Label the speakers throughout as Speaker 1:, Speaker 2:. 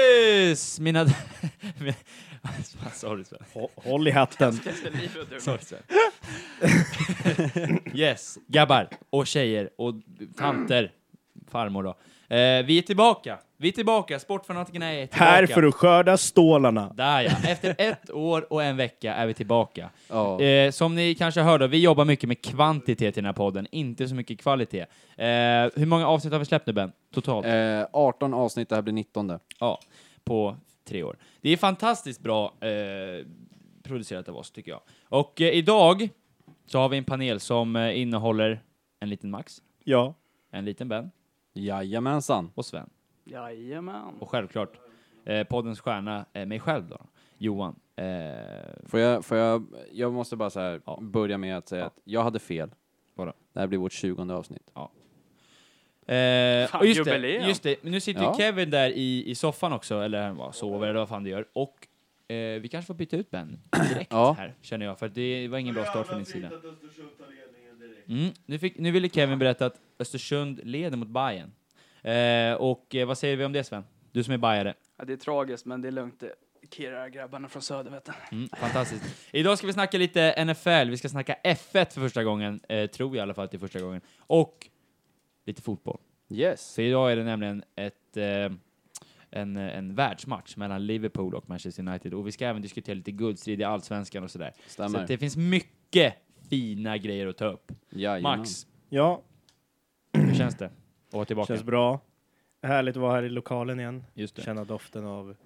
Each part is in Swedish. Speaker 1: kompis, mina... Fan, Sorry Sven.
Speaker 2: Hå- Håll i hatten.
Speaker 1: Sorry Sven. yes, grabbar och tjejer och tanter, farmor då. Eh, vi är tillbaka, vi är tillbaka, Sportfanatikerna är tillbaka.
Speaker 2: Här för att skörda stålarna.
Speaker 1: Där ja, efter ett år och en vecka är vi tillbaka.
Speaker 3: Ja.
Speaker 1: Eh, som ni kanske hörde, vi jobbar mycket med kvantitet i den här podden, inte så mycket kvalitet. Eh, hur många avsnitt har vi släppt nu Ben? Totalt?
Speaker 3: Eh, 18 avsnitt, det här blir 19.
Speaker 1: Ja, på tre år. Det är fantastiskt bra eh, producerat av oss, tycker jag. Och eh, idag så har vi en panel som eh, innehåller en liten Max,
Speaker 2: Ja.
Speaker 1: en liten Ben
Speaker 3: Jajamensan.
Speaker 1: och Sven.
Speaker 4: Jajamän.
Speaker 1: Och självklart eh, poddens stjärna, eh, mig själv då, Johan. Eh,
Speaker 3: Får jag, får jag, jag måste bara så här
Speaker 1: Ja.
Speaker 3: börja med att säga att jag hade fel.
Speaker 1: Vadå?
Speaker 3: Det här blir vårt 20 avsnitt.
Speaker 1: Eh,
Speaker 4: Fan,
Speaker 1: och just det,
Speaker 4: jubileum.
Speaker 1: just det, men nu sitter ju
Speaker 3: Ja.
Speaker 1: Kevin där i, i soffan också, eller han bara sover eller vad fan du gör. Och eh, vi kanske får byta ut Ben direkt
Speaker 3: Ja.
Speaker 1: här, känner jag, för det var ingen bra start från din sida. Mm, nu, fick, nu ville Kevin berätta att Östersund leder mot Bayern. Eh, och eh, vad säger vi om det Sven? Du som är bajare.
Speaker 4: Ja, det är tragiskt, men det är lugnt. Det kirrar grabbarna från söder, vet du.
Speaker 1: Mm, fantastiskt. Idag ska vi snacka lite NFL, vi ska snacka F1 för första gången, eh, tror jag i alla fall att det är första gången. Och lite fotboll.
Speaker 3: Yes.
Speaker 1: Så idag är det nämligen ett, eh, en, en världsmatch mellan Liverpool och Manchester United och vi ska även diskutera lite guldstrid i Allsvenskan och sådär. Så att
Speaker 3: Stämmer.
Speaker 1: det finns mycket fina grejer att ta upp.
Speaker 3: Jajamän.
Speaker 1: Max,
Speaker 2: Ja,
Speaker 1: hur känns det? Att vara tillbaka.
Speaker 2: känns bra. Härligt att vara här i lokalen igen.
Speaker 1: Just det.
Speaker 2: Känna doften av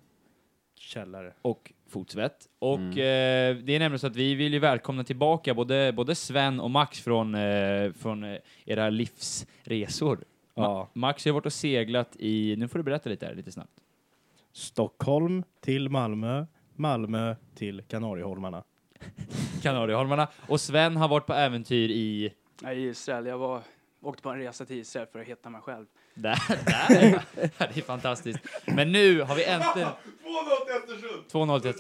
Speaker 2: källare.
Speaker 1: och fotsvett. Och eh, det är nämligen så att vi vill ju välkomna tillbaka både, både Sven och Max från, eh, från eh, era livsresor.
Speaker 2: Ja.
Speaker 1: Max har ju varit och seglat i, nu får du berätta lite här, lite snabbt.
Speaker 2: Stockholm till Malmö, Malmö till Kanarieholmarna.
Speaker 1: Kanarieholmarna. Och Sven har varit på äventyr i...
Speaker 4: Jag är i Israel. Jag var, åkte på en resa till Israel för att hitta mig själv.
Speaker 1: Där, där! det är fantastiskt. Men nu har vi äntligen... 2-0 till Östersund. 2-0 till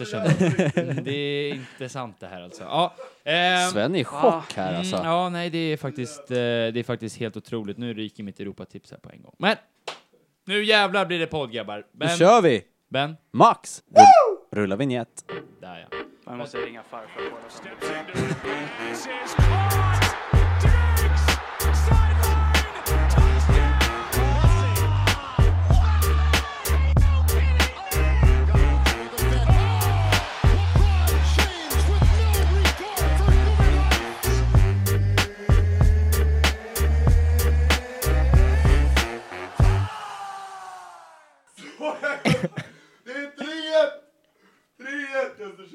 Speaker 1: Östersund. Mm, Det är inte sant det här alltså. Ja, ehm,
Speaker 3: Sven är i chock här alltså.
Speaker 1: Mm, ja, nej, det är faktiskt, eh, det är faktiskt helt otroligt. Nu ryker mitt Europatips här på en gång. Men nu jävlar blir det podd, grabbar.
Speaker 3: Nu
Speaker 1: Ben,
Speaker 3: kör vi!
Speaker 1: ben.
Speaker 3: Max! Rull, rulla vignett.
Speaker 1: Där ja.
Speaker 4: Man måste ringa farfar och kolla.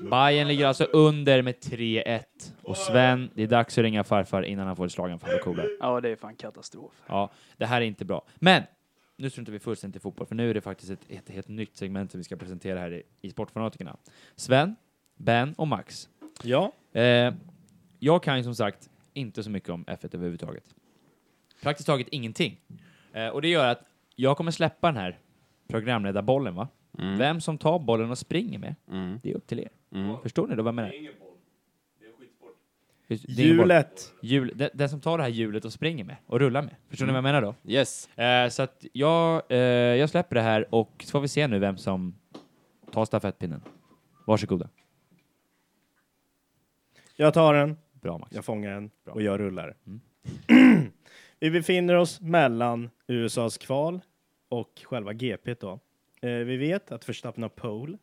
Speaker 1: Bayern ligger alltså under med 3-1. Och Sven, det är dags att ringa farfar innan han får ett slag av farfar Kola.
Speaker 4: Ja, det är fan katastrof.
Speaker 1: Ja, det här är inte bra. Men nu struntar vi fullständigt i fotboll, för nu är det faktiskt ett, ett helt nytt segment som vi ska presentera här i, i Sportfanatikerna. Sven, Ben och Max.
Speaker 2: Ja,
Speaker 1: Eh, jag kan ju som sagt inte så mycket om F1 överhuvudtaget. Praktiskt taget ingenting. Eh, och det gör att jag kommer släppa den här programledarbollen, va? Vem som tar bollen och springer med,
Speaker 3: Mm.
Speaker 1: det är upp till er. Förstår ni då vad jag menar? Det är ingen boll. Det är skitsport.
Speaker 2: hjulet.
Speaker 1: Hjul, den, den som tar det här hjulet och springer med och rullar med. Förstår ni vad jag menar då?
Speaker 3: Yes.
Speaker 1: Eh, så att jag, eh, jag släpper det här och så får vi se nu vem som tar stafettpinnen. Varsågoda.
Speaker 2: Jag tar den,
Speaker 1: Bra Max.
Speaker 2: jag fångar den och jag rullar. Vi befinner oss mellan USAs kval och själva GP då. Eh, Vi vet att Verstappen har pole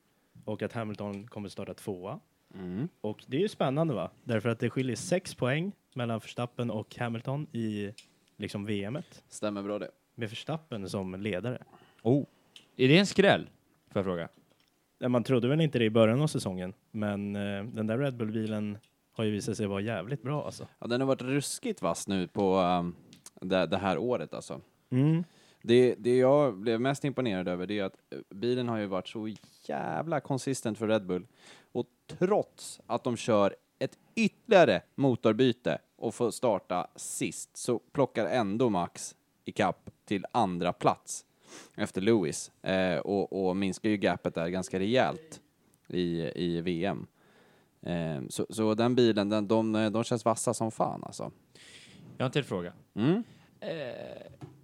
Speaker 2: och att Hamilton kommer starta tvåa.
Speaker 3: Mm.
Speaker 2: Och det är ju spännande va? Därför att det skiljer sex poäng mellan Verstappen och Hamilton i liksom VMet.
Speaker 3: Stämmer bra det.
Speaker 2: Med Verstappen som ledare.
Speaker 1: Oh. Är det en skräll? Får jag fråga?
Speaker 2: Nej, Man trodde väl inte det i början av säsongen, men eh, den där Red Bull-bilen har ju visat sig vara jävligt bra alltså.
Speaker 3: Ja, den har varit ruskigt vass nu på ehm, det, det här året alltså.
Speaker 2: Mm.
Speaker 3: Det, det jag blev mest imponerad över det är att eh, bilen har ju varit så jävla konsistent för Red Bull. Och trots att de kör ett ytterligare motorbyte och får starta sist så plockar ändå Max i kapp till andra plats efter Lewis eh, och, och minskar ju gapet där ganska rejält i, i VM. Eh, så, så den bilen, den, de, de känns vassa som fan alltså.
Speaker 1: Jag har en till fråga. Eh,
Speaker 3: Mm.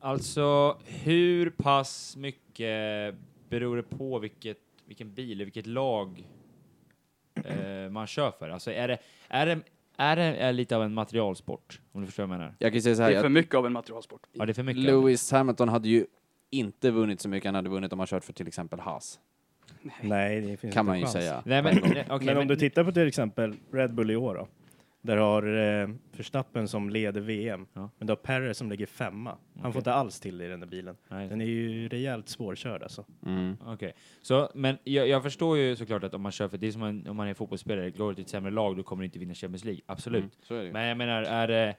Speaker 1: Alltså, hur pass mycket beror det på vilket vilken bil, eller vilket lag eh, man kör för. Alltså är det, är det, är det är lite av en materialsport? Om du förstår vad jag menar?
Speaker 3: Jag kan ju säga så
Speaker 4: Det
Speaker 3: här,
Speaker 4: är för
Speaker 3: att
Speaker 4: mycket av en materialsport.
Speaker 1: Ja, det är för mycket.
Speaker 3: Lewis Hamilton hade ju inte vunnit så mycket han hade vunnit om han kört för till exempel Haas.
Speaker 2: Nej, det finns
Speaker 3: Kan
Speaker 2: inte
Speaker 3: man
Speaker 2: en
Speaker 3: ju
Speaker 2: chans.
Speaker 3: säga.
Speaker 1: Nej, men, nej, okej,
Speaker 2: men om
Speaker 1: men-
Speaker 2: du tittar på till exempel Red Bull i år då. Där har eh, Verstappen som leder VM,
Speaker 1: Ja.
Speaker 2: men du har Perre som ligger femma. Han får inte alls till det i den där bilen.
Speaker 1: Nej.
Speaker 2: Den är ju rejält svårkörd alltså.
Speaker 3: Mm.
Speaker 1: Okej, så, men jag, jag förstår ju såklart att om man kör för det är som en, om man är fotbollsspelare, går du till ett sämre lag då kommer du inte vinna Champions League, absolut.
Speaker 3: Mm, Så är det ju.
Speaker 1: Men jag menar, är det,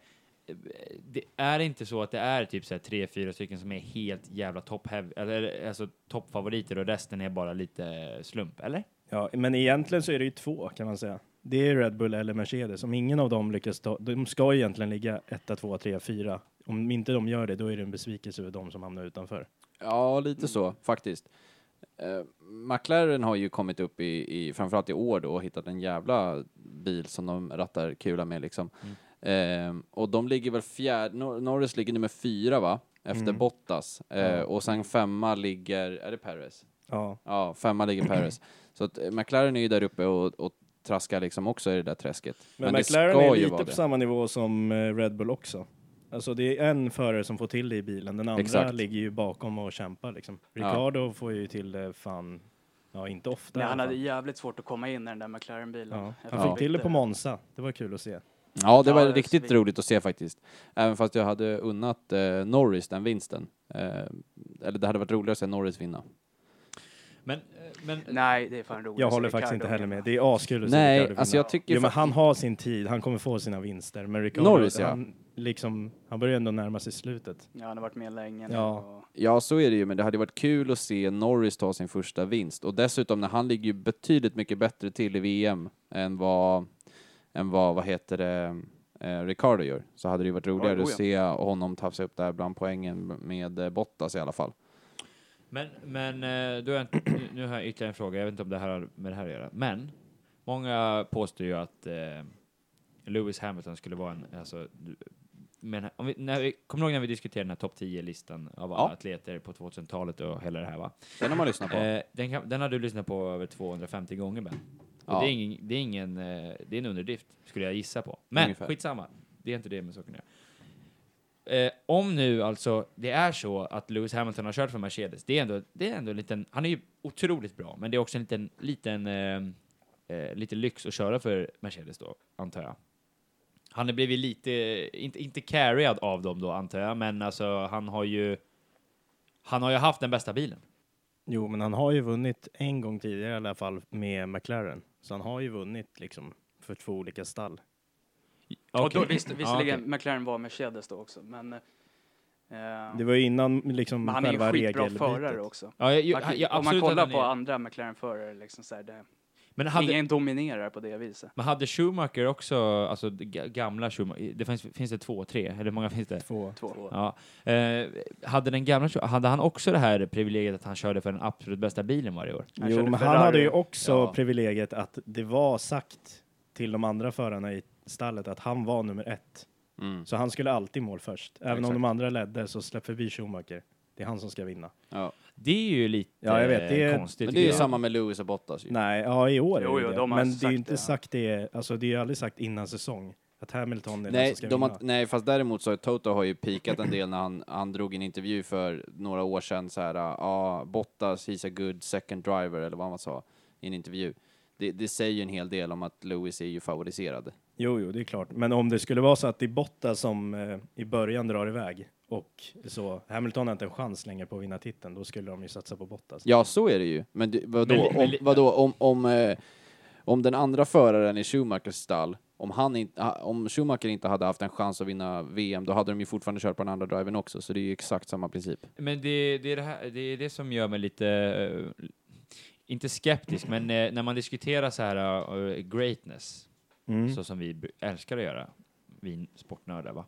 Speaker 1: det är det inte så att det är typ så här tre, fyra stycken som är helt jävla topp, eller, alltså toppfavoriter och resten är bara lite slump, eller?
Speaker 2: Ja, men egentligen så är det ju två kan man säga. Det är Red Bull eller Mercedes. Om ingen av dem lyckas ta, de ska ju egentligen ligga etta, tvåa, trea, fyra. Om inte de gör det, då är det en besvikelse över de som hamnar utanför.
Speaker 3: Ja, lite så faktiskt. Eh, McLaren har ju kommit upp i, i, framförallt i år då, och hittat en jävla bil som de rattar kula med liksom.
Speaker 2: Mm.
Speaker 3: Eh, och de ligger väl fjärde, Nor- Norris ligger nummer fyra va? Efter
Speaker 2: Mm.
Speaker 3: Bottas. Eh, Och sen femma ligger, är det Perez?
Speaker 2: Ja,
Speaker 3: Ja, femma ligger Perez. Så att eh, McLaren är ju där uppe och, och traskar liksom också i det där träsket.
Speaker 2: men,
Speaker 3: det
Speaker 2: McLaren
Speaker 3: ska
Speaker 2: är
Speaker 3: ju
Speaker 2: lite
Speaker 3: vara
Speaker 2: på
Speaker 3: det.
Speaker 2: samma nivå som eh, Red Bull också. Alltså det är en förare som får till det i bilen, den andra
Speaker 3: Exakt.
Speaker 2: ligger ju bakom och kämpar liksom.
Speaker 3: Ja.
Speaker 2: Ricardo får ju till det fan, ja inte ofta.
Speaker 4: Nej,
Speaker 2: i
Speaker 4: han
Speaker 2: alla
Speaker 4: hade
Speaker 2: fall.
Speaker 4: jävligt svårt att komma in i den där McLaren-bilen.
Speaker 2: ja.
Speaker 4: Efter
Speaker 2: Han fick
Speaker 4: de
Speaker 2: till det
Speaker 4: bytte.
Speaker 2: på Monza, det var kul att se.
Speaker 3: Ja, det
Speaker 4: Ja,
Speaker 3: var
Speaker 4: det är
Speaker 3: riktigt
Speaker 4: svin.
Speaker 3: roligt att se faktiskt. Även fast jag hade unnat eh, Norris den vinsten. Eh, eller det hade varit roligare att se Norris vinna.
Speaker 1: Men, eh, men
Speaker 4: Nej, det är fan roligt.
Speaker 2: Jag
Speaker 4: att se
Speaker 2: håller faktiskt
Speaker 4: Ricardo
Speaker 2: inte heller med,
Speaker 4: vinna.
Speaker 2: det är askul att se
Speaker 3: Nej,
Speaker 2: Ricardo
Speaker 3: alltså
Speaker 2: vinna.
Speaker 3: jag tycker
Speaker 2: Jo, men
Speaker 3: fa-
Speaker 2: han har sin tid, han kommer få sina vinster. Men Ricardo,
Speaker 3: Norris, ja.
Speaker 2: han, liksom, han börjar ändå närma sig slutet.
Speaker 4: Ja, han har varit med länge nu.
Speaker 2: Ja.
Speaker 4: Och...
Speaker 3: Ja, så är det ju, men det hade varit kul att se Norris ta sin första vinst. Och dessutom, när han ligger ju betydligt mycket bättre till i VM än vad, än vad, vad heter det, eh, Ricardo gör, så hade det ju varit roligare
Speaker 4: jo,
Speaker 3: att
Speaker 4: ja.
Speaker 3: se honom tafsa upp där bland poängen med eh, Bottas i alla fall.
Speaker 1: Men, men eh, då är jag, nu har jag ytterligare en fråga. Jag vet inte om det här har med det här att göra. Men många påstår ju att eh, Lewis Hamilton skulle vara en... Alltså, du- men om vi, när vi, kommer du ihåg när vi diskuterade den här topp 10-listan av alla
Speaker 3: Ja.
Speaker 1: atleter på 2000-talet och hela det här va?
Speaker 3: Den har man lyssnat på.
Speaker 1: Eh, den, kan, den har du lyssnat på över 250 gånger Ben. Och
Speaker 3: Ja.
Speaker 1: det, är ingen, det, är ingen, eh, det är en underdrift, skulle jag gissa på. Men
Speaker 3: Ungefär.
Speaker 1: skitsamma, det är inte det med saken att göra. eh, Om nu alltså det är så att Lewis Hamilton har kört för Mercedes, det är ändå, det är ändå en liten, han är ju otroligt bra, men det är också en liten, liten eh, eh, lite lyx att köra för Mercedes då, antar jag. Han har blivit lite, inte, inte carryad av dem då antar jag, men alltså han har ju, han har ju haft den bästa bilen.
Speaker 2: Jo, men han har ju vunnit en gång tidigare i alla fall med McLaren. Så han har ju vunnit liksom för två olika stall.
Speaker 4: Och då,
Speaker 1: Okej.
Speaker 4: visst,
Speaker 1: Ja,
Speaker 4: visserligen,
Speaker 1: okej.
Speaker 4: McLaren var Mercedes då också, men... eh,
Speaker 2: Det var ju innan liksom
Speaker 4: men han är ju
Speaker 2: själva
Speaker 4: skitbra
Speaker 2: regelbytet.
Speaker 4: förare också.
Speaker 1: Ja, jag, jag,
Speaker 4: Man kan-
Speaker 1: jag,
Speaker 4: om man
Speaker 1: absolut
Speaker 4: kollar
Speaker 1: att
Speaker 4: på
Speaker 1: han är-
Speaker 4: andra McLaren-förare, liksom så här, det,
Speaker 1: Men hade,
Speaker 4: ingen dominerar på det viset.
Speaker 1: men hade Schumacher också, alltså det ga- gamla Schumacher, det finns, finns det två, tre, eller hur många finns det?
Speaker 2: Två.
Speaker 4: Två.
Speaker 1: Ja. Eh, hade den gamla Schumacher, hade han också det här privilegiet att han körde för den absolut bästa bilen varje år?
Speaker 4: Han
Speaker 2: jo,
Speaker 4: körde
Speaker 2: men han
Speaker 4: Ferrari.
Speaker 2: hade ju också
Speaker 1: Ja.
Speaker 2: privilegiet att det var sagt till de andra förarna i stallet att han var nummer ett.
Speaker 3: Mm.
Speaker 2: Så han skulle alltid mål först. Även om
Speaker 3: Exakt.
Speaker 2: de andra ledde så släpp förbi Schumacher. Det är han som ska vinna.
Speaker 3: Ja.
Speaker 1: Det är ju lite
Speaker 2: Ja, jag vet, det är-
Speaker 1: eh, konstigt.
Speaker 3: Men det är
Speaker 1: tycker
Speaker 3: ju
Speaker 1: jag.
Speaker 3: samma med Lewis och Bottas ju.
Speaker 2: Nej, ja i år
Speaker 4: Jo,
Speaker 2: är det
Speaker 4: jo,
Speaker 2: det.
Speaker 4: de har
Speaker 2: Men det är
Speaker 4: sagt
Speaker 2: ju inte
Speaker 4: det, ja.
Speaker 2: sagt det, alltså det är ju aldrig sagt innan säsong att Hamilton är den
Speaker 3: Nej,
Speaker 2: som ska
Speaker 3: de
Speaker 2: vinna.
Speaker 3: har, nej, fast däremot så har Toto har ju pikat en del när han, han drog en intervju för några år sedan så här, ja, ah, Bottas, he's a good second driver eller vad man sa i en intervju. Det, det säger ju en hel del om att Lewis är ju favoriserad.
Speaker 2: Jo, jo, det är klart. Men om det skulle vara så att det är Bottas som eh, i början drar iväg och så Hamilton har inte en chans längre på att vinna titeln, då skulle de ju satsa på Bottas.
Speaker 3: Ja, så är det ju. Men det, vadå,
Speaker 1: Men li- men
Speaker 3: om,
Speaker 1: li-
Speaker 3: vadå om, om, eh, om den andra föraren i Schumachers stall, om, han inte, ha- om Schumacher inte hade haft en chans att vinna VM, då hade de ju fortfarande kört på den andra driven också, så det är ju exakt samma princip.
Speaker 1: Men det, det, är det, här, det är det som gör mig lite, eh, inte skeptisk, men eh, när man diskuterar så här eh, greatness,
Speaker 2: Mm.
Speaker 1: så som vi b- älskar att göra, vi sportnördar va.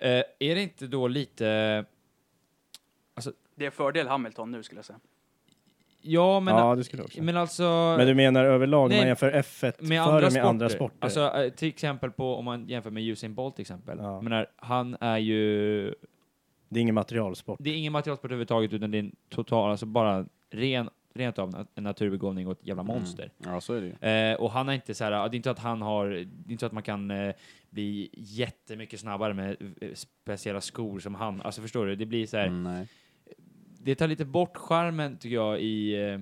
Speaker 1: Eh, är det inte då lite,
Speaker 4: Det är fördel Hamilton nu skulle jag säga.
Speaker 1: ja men,
Speaker 2: ja, det skulle jag också. Men,
Speaker 1: men alltså,
Speaker 2: du menar överlag, om
Speaker 1: Nej,
Speaker 2: man jämför F1
Speaker 1: med,
Speaker 2: före
Speaker 1: andra
Speaker 2: med andra sporter?
Speaker 1: Alltså eh, till exempel på, om man jämför med Usain Bolt till exempel.
Speaker 2: Ja.
Speaker 1: Jag Menar, han är ju,
Speaker 2: det är ingen materialsport.
Speaker 1: det är ingen materialsport överhuvudtaget utan det är en total, alltså bara ren rent av na- en naturbegåvning och ett jävla
Speaker 2: Mm.
Speaker 1: monster.
Speaker 3: Ja, så är det ju.
Speaker 1: Eh, och han är inte så här, ja, det är inte att han har, det är inte så att man kan eh, bli jättemycket snabbare med eh, speciella skor som han, alltså förstår du, det blir så här,
Speaker 3: Mm, nej.
Speaker 1: det tar lite bort charmen tycker jag i eh,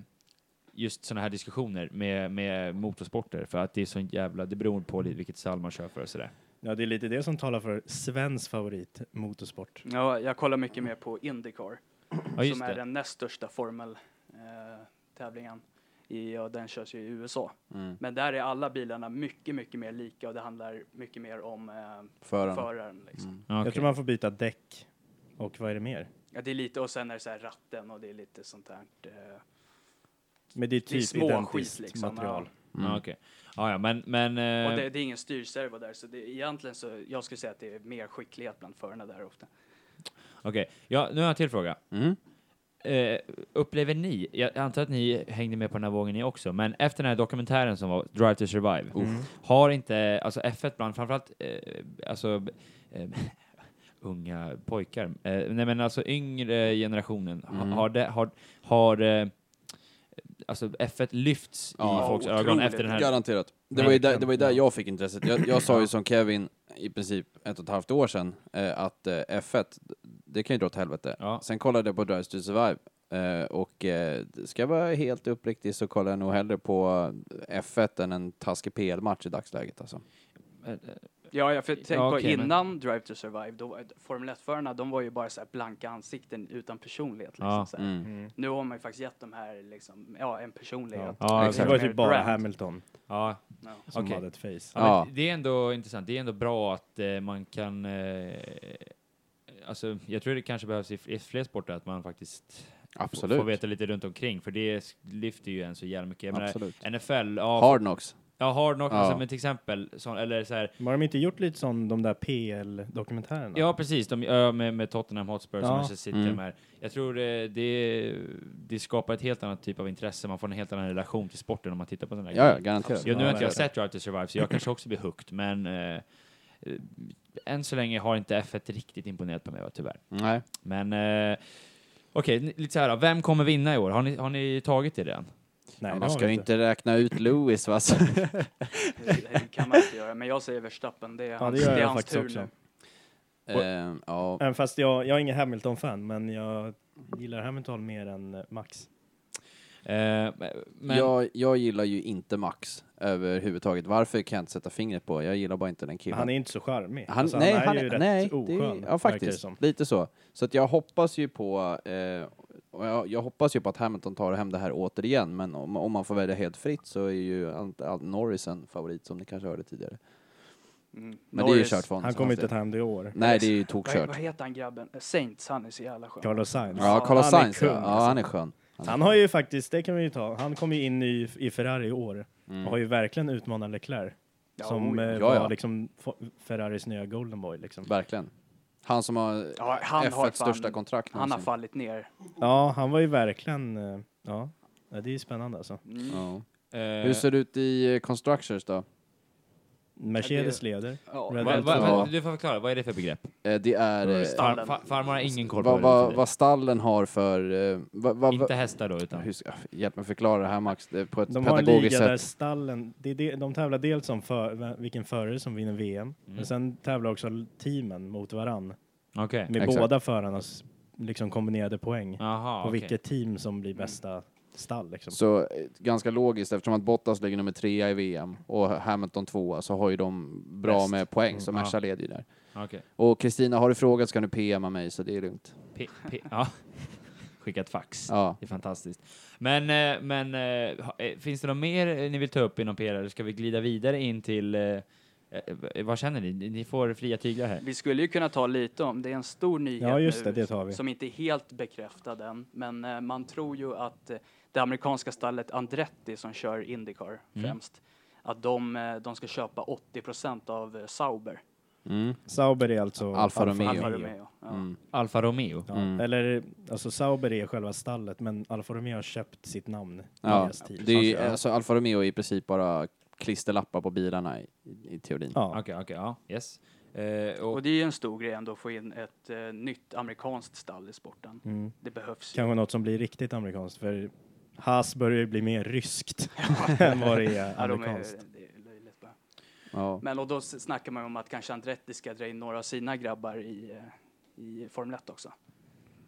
Speaker 1: just sådana här diskussioner med, med motorsporter för att det är så jävla, det beror på lite vilket stall man kör för och sådär.
Speaker 2: Ja, det är lite det som talar för Svens favorit motorsport.
Speaker 4: Ja, jag kollar mycket mer på Indycar,
Speaker 1: Ja just
Speaker 4: som är
Speaker 1: det.
Speaker 4: den näst största formeltävlingen. I, och den körs ju i USA.
Speaker 3: Mm.
Speaker 4: Men där är alla bilarna mycket, mycket mer lika och det handlar mycket mer om eh,
Speaker 3: Föraren.
Speaker 4: föraren. Liksom.
Speaker 3: Mm.
Speaker 1: Ja, okej.
Speaker 2: Jag tror man får byta däck. Och vad är det mer?
Speaker 4: Ja, det är lite, och sen är det så här ratten och det är lite sånt där. Eh,
Speaker 2: Men det är
Speaker 4: det är
Speaker 2: typ
Speaker 4: små
Speaker 2: identiskt
Speaker 4: skit liksom.
Speaker 2: material.
Speaker 1: Ja, okej. ja, ja, men, men
Speaker 4: Ja.
Speaker 1: eh,
Speaker 4: Och det, det är ingen styrservo där, så det, egentligen så, jag skulle säga att det är mer skicklighet bland förarna där ofta.
Speaker 1: okej. Ja, nu har jag en till fråga.
Speaker 3: Mm.
Speaker 1: Eh, upplever ni, jag antar att ni hängde med på den här vågen ni också, men efter den här dokumentären som var Drive to Survive, har inte, alltså F1 bland framförallt, eh, alltså eh, unga pojkar, eh, nej men alltså yngre generationen, ha-
Speaker 3: Mm.
Speaker 1: har, det, har, har eh, alltså F1 lyfts
Speaker 3: Ja,
Speaker 1: i folks
Speaker 4: otroligt.
Speaker 1: ögon efter den här
Speaker 3: Garanterat. Det
Speaker 1: Nej,
Speaker 3: var, ju
Speaker 1: det
Speaker 3: där,
Speaker 1: kan-
Speaker 3: det var ju där jag fick intresset. Jag, jag sa ju som Kevin i princip ett och ett halvt år sedan eh, att eh, F1, det kan ju dra åt helvete.
Speaker 1: Ja.
Speaker 3: Sen kollade jag på Drive to Survive eh, och eh, ska jag vara helt uppriktig så kollar jag nog hellre på F1 än en taskig PL-match i dagsläget alltså.
Speaker 1: eh,
Speaker 4: Ja, jag för, tänk
Speaker 1: Ja,
Speaker 4: på
Speaker 1: okej, men-
Speaker 4: innan Drive to Survive, då, var- Formel 1-förarna, de var ju bara så här blanka ansikten utan personlighet. Liksom,
Speaker 1: Ja.
Speaker 4: så här.
Speaker 3: Mm.
Speaker 2: Mm.
Speaker 4: Nu har man ju faktiskt gett de här, liksom, ja, en personlighet.
Speaker 1: Ja,
Speaker 4: Liksom
Speaker 2: Det
Speaker 1: exakt.
Speaker 2: var
Speaker 4: mer
Speaker 2: typ bara
Speaker 4: brand.
Speaker 2: Hamilton
Speaker 1: Ja,
Speaker 4: Ja.
Speaker 2: som
Speaker 1: Okej.
Speaker 2: hade ett face.
Speaker 1: ja,
Speaker 3: Ja.
Speaker 1: Men det är ändå intressant. Det är ändå bra att eh, man kan... Eh, alltså, jag tror det kanske behövs i, f- i fler sporter att man faktiskt f-
Speaker 3: Absolut.
Speaker 1: får veta lite runt omkring, för det s- lyfter ju en så jävla mycket. Jag menar,
Speaker 3: Absolut.
Speaker 1: NFL, ja,
Speaker 3: Hard Knocks.
Speaker 1: ja hard knock,
Speaker 3: Ja.
Speaker 1: alltså, men till exempel, så, eller så här,
Speaker 2: Men Har de inte gjort lite som de där PL-dokumentärerna?
Speaker 1: Ja, precis. De, ja, med, med Tottenham Hotspur som
Speaker 2: Ja.
Speaker 1: Manchester City.
Speaker 3: Mm.
Speaker 1: de här. Jag tror det, det, det skapar ett helt annat typ av intresse. Man får en helt annan relation till sporten om man tittar på den här
Speaker 3: Ja, ja, garanterat.
Speaker 1: Ja, nu har inte
Speaker 2: Ja,
Speaker 1: jag sett Drive to Survive, så jag kanske också blir hooked, men eh, eh, än så länge har inte F1 riktigt imponerat på mig, va, tyvärr.
Speaker 3: Nej.
Speaker 1: Men eh, okej, n- lite så här då. Vem kommer vinna i år? Har ni, har ni tagit det redan?
Speaker 2: Nej,
Speaker 3: Ja,
Speaker 2: det
Speaker 3: man
Speaker 2: har
Speaker 3: ska
Speaker 2: vi
Speaker 3: ju inte räkna ut Lewis va? Så-
Speaker 4: Det, det kan man inte göra, men jag säger Verstappen, det är hans,
Speaker 2: det gör
Speaker 4: det är
Speaker 2: jag
Speaker 4: hans
Speaker 2: faktiskt
Speaker 4: tur
Speaker 2: också.
Speaker 4: nu.
Speaker 3: Eh, ja.
Speaker 2: Även fast jag, jag är ingen Hamilton-fan, men jag gillar Hamilton mer än eh, Max.
Speaker 1: Eh, men,
Speaker 3: Jag, jag gillar ju inte Max överhuvudtaget. Varför kan jag inte sätta fingret på. Jag gillar bara inte den killen.
Speaker 2: Han är inte så charmig.
Speaker 3: Han-
Speaker 2: Alltså,
Speaker 3: nej,
Speaker 2: han är
Speaker 3: han
Speaker 2: ju rätt
Speaker 3: nej, det är-
Speaker 2: oskön, verkar
Speaker 3: ja,
Speaker 2: det
Speaker 3: faktiskt.
Speaker 2: som.
Speaker 3: Lite så. Så att jag hoppas ju på... Eh, och jag, jag hoppas ju på att Hamilton tar hem det här återigen, men om, om man får välja helt fritt så är ju Ant- Ant- Norris en favorit, som ni kanske hörde tidigare.
Speaker 4: Mm.
Speaker 3: Men
Speaker 4: Norris.
Speaker 3: det är ju kört för honom.
Speaker 2: Han
Speaker 3: så
Speaker 2: kommer
Speaker 3: han ser-
Speaker 2: inte ta hem det i år.
Speaker 3: Nej, det är ju
Speaker 4: Vad,
Speaker 3: tokkört.
Speaker 4: vad heter han grabben? Eh, Saints, han är så jävla skön.
Speaker 2: Carlos Sainz.
Speaker 3: Ja, Carlos
Speaker 2: Han är
Speaker 3: Sainz, ja.
Speaker 2: kung,
Speaker 3: ja.
Speaker 2: alltså.
Speaker 3: Han är skön. är
Speaker 2: Han har ju faktiskt, det kan vi ju ta, han kom ju in ny i Ferrari i år och har ju verkligen utmanat Leclerc.
Speaker 4: Ja,
Speaker 2: som
Speaker 4: oj.
Speaker 2: eh,
Speaker 3: Mm. Ja,
Speaker 2: var
Speaker 3: ja.
Speaker 2: liksom Fo- Ferraris nya Golden Boy liksom.
Speaker 3: Verkligen. Han som har
Speaker 4: Ja, han har
Speaker 3: F1 största
Speaker 4: fan-
Speaker 3: kontrakt
Speaker 4: han har
Speaker 3: någonsin.
Speaker 4: fallit ner.
Speaker 2: Ja, han var ju verkligen, eh, ja, Ja, det är ju spännande alltså.
Speaker 4: Mm.
Speaker 3: Ja.
Speaker 1: eh,
Speaker 3: Hur ser det ut i eh, Constructors då?
Speaker 2: Mercedes leder.
Speaker 4: Ja,
Speaker 2: Red
Speaker 1: vad-
Speaker 2: Bull
Speaker 1: vad-
Speaker 3: Ja.
Speaker 1: vad- du får förklara, vad är det för begrepp?
Speaker 3: Eh, Det är eh,
Speaker 1: Far, far, farmor har ingen koll på
Speaker 3: vad,
Speaker 1: vad det
Speaker 3: vad,
Speaker 1: betyder.
Speaker 3: vad stallen har för... eh, vad- vad-
Speaker 1: Inte hästar då, utan...
Speaker 3: Hur ska, hjälp mig förklara det här Max, det är på ett
Speaker 2: De har en
Speaker 3: pedagogiskt
Speaker 2: liga
Speaker 3: sätt.
Speaker 2: där stallen, det är det, de tävlar dels om för, vilken förare som vinner VM,
Speaker 3: Mm.
Speaker 2: men sen tävlar också teamen mot varann
Speaker 1: Okej.
Speaker 2: med
Speaker 3: Exakt. Ah,
Speaker 2: båda förarnas liksom kombinerade poäng
Speaker 1: Jaha,
Speaker 2: och
Speaker 1: okej.
Speaker 2: vilket team som blir bästa stall liksom.
Speaker 3: Så eh, ganska logiskt eftersom att Bottas ligger nummer trea i VM och Hamilton tvåa så har ju de bra
Speaker 2: Bäst.
Speaker 3: med poäng, så
Speaker 1: Mm,
Speaker 3: Merca
Speaker 1: ja.
Speaker 3: leder ju där.
Speaker 1: Okej.
Speaker 3: Och Kristina, har du frågat ska du PMa mig så det är lugnt.
Speaker 1: P- P- ja. Skicka ett fax.
Speaker 3: Ja.
Speaker 1: Det är fantastiskt. Men, eh, men eh, ha- eh, finns det något mer eh, ni vill ta upp inom PR eller ska vi glida vidare in till eh, eh, vad känner ni? Ni- Ni får fria tyglar här.
Speaker 4: Vi skulle ju kunna ta lite om, det är en stor nyhet
Speaker 2: Ja just
Speaker 4: nu,
Speaker 2: det, det tar vi.
Speaker 4: som inte är helt bekräftad än, men eh, man tror ju att eh, det amerikanska stallet Andretti som kör
Speaker 2: Mm.
Speaker 4: Indycar främst, att de, eh, de ska köpa 80 procent av eh, Sauber.
Speaker 3: Mm.
Speaker 2: Sauber är alltså
Speaker 3: Alfa Romeo.
Speaker 4: Alfa
Speaker 3: Romeo.
Speaker 4: Romeo. Ja.
Speaker 3: Mm.
Speaker 1: Alfa Romeo.
Speaker 2: Ja,
Speaker 3: Mm.
Speaker 2: Eller alltså Sauber är själva stallet men Alfa Romeo har köpt sitt namn i
Speaker 3: Ja.
Speaker 2: deras team.
Speaker 3: Det är, ju-
Speaker 2: Ja.
Speaker 3: alltså, Alfa Romeo är i princip bara klisterlappar på bilarna i, i teorin.
Speaker 1: Okej,
Speaker 2: ja.
Speaker 1: okej, ja. Yes. Eh, och,
Speaker 4: Och det är ju en stor grej ändå att få in ett eh, nytt amerikanskt stall i sporten.
Speaker 2: Mm.
Speaker 4: Det behövs ju.
Speaker 2: Kanske något som blir riktigt amerikanskt för Haas börjar ju bli mer ryskt än vad det är
Speaker 4: Ja, de är,
Speaker 2: amerikanskt.
Speaker 4: det är löjligt bara.
Speaker 3: Ja.
Speaker 4: Men och då s- snackar man ju om att kanske Andretti ska dra in några av sina grabbar i, eh, i Formel 1 också.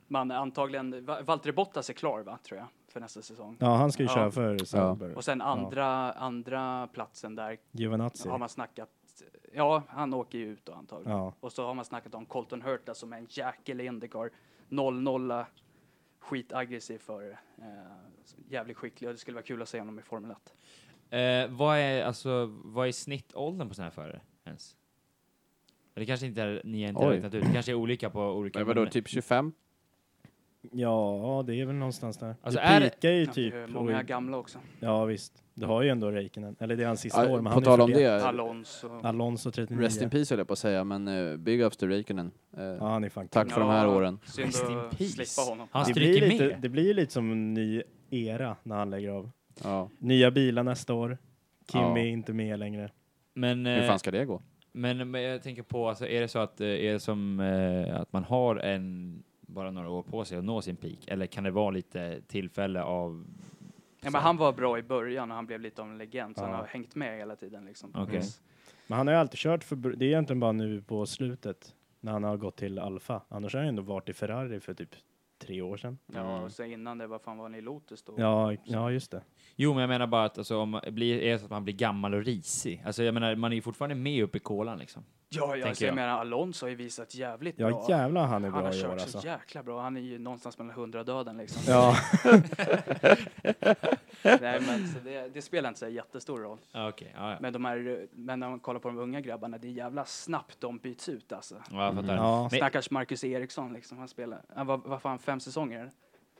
Speaker 4: Man är antagligen, Va- Valtteri Bottas är klar va, tror jag, för nästa säsong.
Speaker 2: Ja, han ska ju
Speaker 4: Ja.
Speaker 2: köra för Sauber.
Speaker 4: Och sen andra, andra platsen där
Speaker 2: Giovinazzi.
Speaker 4: har man snackat, ja han åker ju ut då antagligen.
Speaker 2: Ja.
Speaker 4: Och så har man snackat om Colton Hurta som är en jäkel i Indycar. 0-0, skitaggressiv förare. Eh, så jävligt skicklig och det skulle vara kul att se honom i Formel 1.
Speaker 1: Eh, vad, är, alltså, vad är snittåldern på sådana här förare ens? Eller kanske inte är, ni har inte
Speaker 3: Oj.
Speaker 1: räknat ut, det kanske är olika på olika...
Speaker 3: Men vadå,
Speaker 1: men-
Speaker 3: typ 25?
Speaker 2: Ja, det är väl någonstans där.
Speaker 1: Alltså,
Speaker 2: det
Speaker 1: är det-
Speaker 2: pikar ju
Speaker 4: Ja, det är
Speaker 2: typ.
Speaker 4: Många
Speaker 2: och-
Speaker 4: gamla också.
Speaker 2: Ja, visst. Du har ju ändå Räikkönen. Eller det är hans sista år,
Speaker 3: Ja,
Speaker 2: men
Speaker 3: på
Speaker 2: han
Speaker 3: tal
Speaker 2: är
Speaker 3: om
Speaker 2: 41.
Speaker 3: det,
Speaker 4: Alonso.
Speaker 2: Alonso 39.
Speaker 3: rest in peace höll jag på att säga, men eh, big ups to Räikkönen. Eh,
Speaker 2: Ja, han är fan
Speaker 3: Tack för de här åren.
Speaker 4: Synd
Speaker 1: Rest in
Speaker 4: att
Speaker 1: peace.
Speaker 4: slippa honom.
Speaker 1: Han
Speaker 2: det blir,
Speaker 1: stryker
Speaker 2: lite,
Speaker 1: med.
Speaker 2: det blir lite som en ny era när han lägger av.
Speaker 3: Ja.
Speaker 2: Nya bilar nästa år. Kimi
Speaker 3: Ja.
Speaker 2: är inte med längre.
Speaker 1: Men,
Speaker 3: Hur
Speaker 1: eh,
Speaker 3: fan ska det gå?
Speaker 1: men, men jag tänker på, alltså, är det så att, eh, är det som, eh, att man har en, bara några år på sig att nå sin peak? Eller kan det vara lite tillfälle av...
Speaker 4: Ja, men han var bra i början och han blev lite av en legend, så
Speaker 2: Ja.
Speaker 4: han har hängt med hela tiden. Liksom. på
Speaker 3: Mm.
Speaker 1: Okej.
Speaker 4: vis.
Speaker 2: Men han har ju alltid kört för... Det är egentligen bara nu på slutet när han har gått till Alfa. Annars har han ju ändå varit i Ferrari för typ tre år sedan.
Speaker 4: Ja, och sen innan det, vad fan var han i Lotus då?
Speaker 2: Mm. Ja, ja just det.
Speaker 1: Jo, men jag menar bara att alltså, om man blir, är det så att man blir gammal och risig? Alltså jag menar, man är ju fortfarande med uppe i kolan liksom.
Speaker 4: ja, ja
Speaker 1: tänker
Speaker 4: så jag
Speaker 1: jag.
Speaker 4: menar Alonso har ju visat jävligt
Speaker 2: Ja,
Speaker 4: bra.
Speaker 2: jävlar han är
Speaker 4: han
Speaker 2: bra
Speaker 4: har
Speaker 2: i år
Speaker 4: kört
Speaker 2: alltså.
Speaker 4: så jäkla bra. Han är ju någonstans mellan hundra döden liksom.
Speaker 2: Ja,
Speaker 4: Nej, men, så det, det spelar inte så jättestor roll.
Speaker 1: Okej, ja, ja.
Speaker 4: Men, de här, eh, men när man kollar på de unga grabbarna, det är jävla snabbt de byts ut alltså.
Speaker 1: ja jag fattar.
Speaker 2: ja,
Speaker 1: Men-
Speaker 4: Stackars Marcus Eriksson liksom, han spelar, han var, vad fan, fem säsonger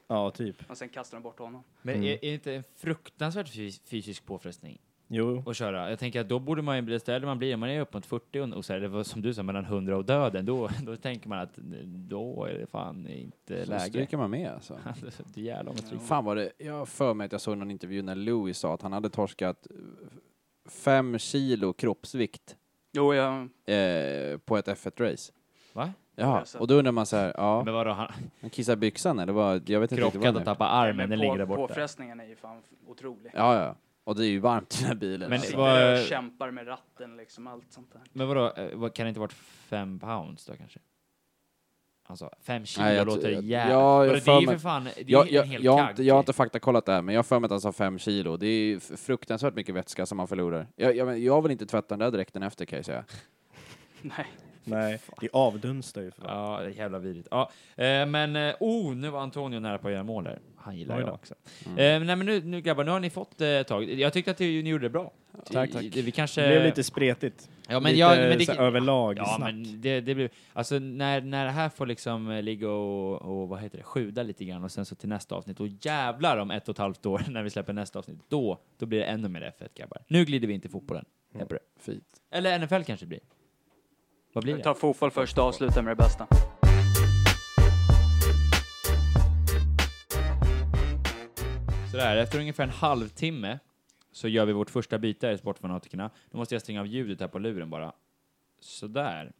Speaker 2: ja typ.
Speaker 4: och sen kastar de bort honom.
Speaker 1: Men är, är det inte en fruktansvärt fys- fysisk påfrestning
Speaker 2: Jo,
Speaker 1: att köra? Jag tänker att då borde man ju bli ställd man blir, man är upp mot 40 och- och så här, det var som du sa, mellan 100 och döden, då, då tänker man att då är det fan inte
Speaker 3: Så
Speaker 1: läge.
Speaker 3: stryker man med alltså.
Speaker 1: Det är jävla om att stryka.
Speaker 3: Fan vad det, jag har för mig att jag såg någon intervju när Louis sa att han hade torskat eh, fem kilo kroppsvikt
Speaker 4: Jo, jag,
Speaker 3: eh, på ett F1-race.
Speaker 1: Va?
Speaker 3: Ja, och då undrar man så här, ja,
Speaker 1: Men vadå, han
Speaker 3: han kissade byxan eller vad? Jag vet inte riktigt vad
Speaker 1: krockade och
Speaker 3: det är.
Speaker 1: tappade armen, den ligger där
Speaker 4: på,
Speaker 1: borta.
Speaker 4: påfrestningen är ju fan otrolig.
Speaker 3: Ja, ja. Och det är ju varmt i den här bilen.
Speaker 1: Men-
Speaker 4: Men
Speaker 3: alltså.
Speaker 4: sitter
Speaker 1: vad-
Speaker 4: där och kämpar med ratten liksom, allt sånt där.
Speaker 1: Men vadå, eh, vad- kan det inte varit fem pounds då kanske? Han sa fem kilo
Speaker 3: Nej, jag
Speaker 1: låter
Speaker 3: tror- jag-
Speaker 1: jävligt.
Speaker 3: Ja, jag
Speaker 1: Vadå, det
Speaker 3: för
Speaker 1: är ju
Speaker 3: mig-
Speaker 1: för fan, det är
Speaker 3: Jag,
Speaker 1: ju en
Speaker 3: jag,
Speaker 1: hel
Speaker 3: jag, har
Speaker 1: kagg.
Speaker 3: inte, jag har
Speaker 1: typ.
Speaker 3: inte faktakollat det här, men jag har för mig att han sa fem kilo. Det är ju f- fruktansvärt mycket vätska som man förlorar. Jag, jag, men- jag vill inte tvätta den där dräkten efter kan jag säga.
Speaker 4: Nej,
Speaker 2: nej. Det avdunstar ju för fan.
Speaker 1: Ja, det är jävla vidrigt. Ja, eh, men eh, oh, nu var Antonio nära på att göra mål där. Han gillar
Speaker 2: Oj
Speaker 1: jag
Speaker 2: då.
Speaker 1: också.
Speaker 3: Mm.
Speaker 1: Eh, nej, men nu, nu grabbar, nu har ni fått eh, ett tag. Jag tyckte att det- ni gjorde det bra.
Speaker 3: Tack,
Speaker 1: I-
Speaker 3: tack.
Speaker 1: Det, vi kanske...
Speaker 2: Det blev lite spretigt.
Speaker 1: ja, men
Speaker 2: lite
Speaker 1: jag, men
Speaker 2: så här
Speaker 1: det,
Speaker 2: överlag
Speaker 1: ja,
Speaker 2: snack.
Speaker 1: men det, det blir... Alltså, när, när det här får liksom eh, ligga och, och vad heter det, sjuda lite grann och sen så till nästa avsnitt, och jävlar om ett och ett halvt år när vi släpper nästa avsnitt, då, då blir det ännu mer F1, grabbar. Nu glider vi inte i fotbollen. Jag är på det.
Speaker 3: Fint.
Speaker 1: Eller NFL kanske det blir. Vad blir det?
Speaker 4: ta fotboll först och avsluta med det bästa.
Speaker 1: Sådär, efter ungefär en halvtimme så gör vi vårt första byte här i Sportfanatikerna. Nu måste jag stänga av ljudet här på luren bara. Sådär.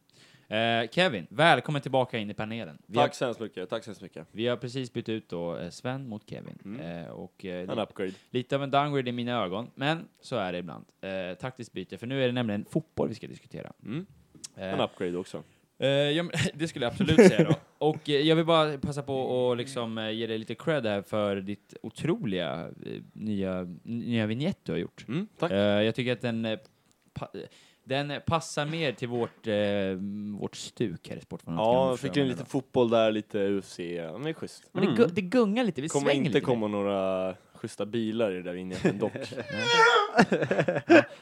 Speaker 1: Eh, Kevin, välkommen tillbaka in i panelen. Vi,
Speaker 5: Tack
Speaker 1: Har,
Speaker 5: så hemskt mycket, tack så hemskt mycket.
Speaker 1: vi har precis bytt ut då eh, Sven mot Kevin. Eh, och, eh,
Speaker 5: En upgrade.
Speaker 1: lite av en downgrade i mina ögon, men så är det ibland. Eh, taktiskt byte, för nu är det nämligen fotboll vi ska diskutera.
Speaker 5: Mm.
Speaker 1: Eh,
Speaker 5: En upgrade också.
Speaker 1: Eh, ja, men, det skulle jag absolut säga då. Och eh, jag vill bara passa på och liksom eh, ge dig lite cred här för ditt otroliga eh, nya, nya vignett du har gjort.
Speaker 5: Mm, tack.
Speaker 1: Eh, jag tycker att den, eh, pa- eh, den eh, passar mer till vårt, eh, vårt stuk här i Sportfrågan.
Speaker 5: Ja, jag fick in lite fotboll där, lite UFC, ja, men det är schysst.
Speaker 1: Men det, gu- det gungar lite, vi
Speaker 5: Det kommer
Speaker 1: svänger
Speaker 5: inte
Speaker 1: lite.
Speaker 5: komma några schyssta bilar i det där vinjetten dock.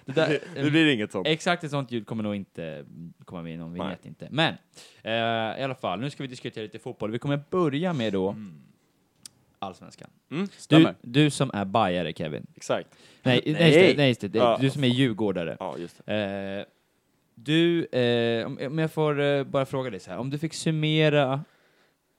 Speaker 1: Det där,
Speaker 5: det blir inget sånt.
Speaker 1: Exakt ett sånt ljud kommer nog inte komma med i någon vignett inte. Men eh, i alla fall, nu ska vi diskutera lite fotboll. Vi kommer börja med då Allsvenskan.
Speaker 5: Mm,
Speaker 1: Du,
Speaker 3: stämmer.
Speaker 1: du som är bajare Kevin.
Speaker 5: Exakt.
Speaker 1: Nej, nej, just det,
Speaker 5: Nej.
Speaker 1: nej just det. Det är
Speaker 5: Ja.
Speaker 1: Du som är djurgårdare.
Speaker 5: Ja, just det.
Speaker 1: Eh, du, eh, om, om jag får eh, bara fråga dig så här. Om du fick summera,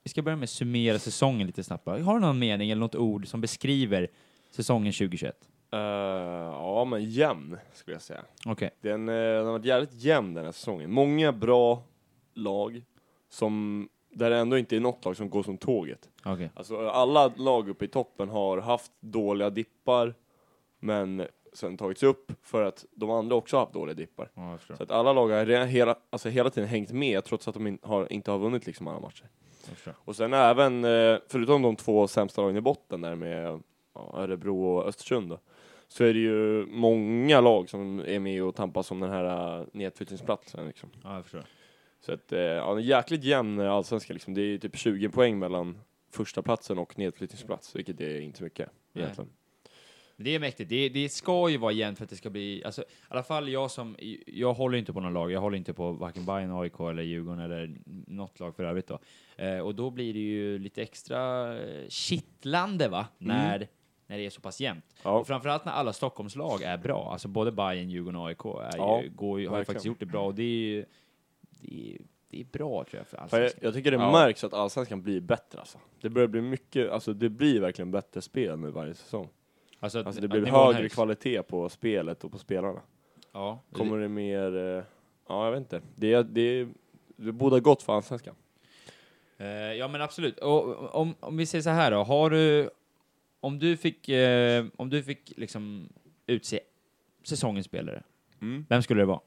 Speaker 1: vi ska börja med summera säsongen lite snabbt bara. Har du någon mening eller något ord som beskriver säsongen 2021?
Speaker 5: Eh, ja, men jämn skulle jag säga.
Speaker 1: Okej.
Speaker 5: Den, eh, den har varit jävligt jämn den här säsongen. Många bra lag som där det ändå inte är något lag som går som tåget.
Speaker 1: Okej.
Speaker 5: Alltså alla lag uppe i toppen har haft dåliga dippar, men sen tagits upp för att de andra också har haft dåliga dippar.
Speaker 1: Ja, jag förstår.
Speaker 5: Så att alla lag har redan hela, alltså hela tiden hängt med trots att de in, har, inte har vunnit liksom alla matcher.
Speaker 1: Jag förstår.
Speaker 5: Och sen även, eh, förutom de två sämsta lagen i botten där med ja, Örebro och Östersund då, så är det ju många lag som är med och tampas om den här eh, nedflyttningsplatsen liksom.
Speaker 1: Ja, jag förstår.
Speaker 5: Så att, eh, ja, en jäkligt jämn eh, allsvenska liksom. Det är ju typ 20 poäng mellan första platsen och nedflyttningsplats, vilket är inte mycket
Speaker 1: Nej.
Speaker 5: egentligen.
Speaker 1: Men Det är mäktigt. Det, det ska ju vara jämnt för att det ska bli... Alltså, I alla fall jag som... Jag håller ju inte på någon lag. Jag håller inte på varken Bayern, AIK eller Djurgården eller något lag för övrigt då. Eh, och då blir det ju lite extra eh, kittlande va? När, när det är så pass jämnt.
Speaker 5: Mm. Ja.
Speaker 1: Och framförallt när alla Stockholmslag är bra. Alltså både Bayern, Djurgården och AIK är
Speaker 5: Ja,
Speaker 1: ju, går ju, har ju
Speaker 5: verkligen.
Speaker 1: faktiskt gjort det bra och det är ju... Det är, det är bra tror jag för
Speaker 5: Fan, Alltså, jag,
Speaker 1: allsvenskan.
Speaker 5: jag tycker det
Speaker 3: Ja.
Speaker 5: märks att allsvenskan blir bättre alltså. Det börjar bli mycket, alltså det blir verkligen bättre spel nu varje säsong.
Speaker 1: Alltså, att-
Speaker 5: Alltså det
Speaker 1: att
Speaker 5: blir
Speaker 1: nivån
Speaker 5: högre
Speaker 1: höjs.
Speaker 5: kvalitet på spelet och på spelarna.
Speaker 1: Ja.
Speaker 5: Kommer det mer, eh, ja jag vet inte. Det, är- det, är- det båda gott för allsvenskan.
Speaker 1: Eh, ja men absolut. Och, om, om vi säger så här då, har du... Om du fick, eh, om du fick liksom utse säsongens spelare,
Speaker 5: Mm.
Speaker 1: vem skulle det vara?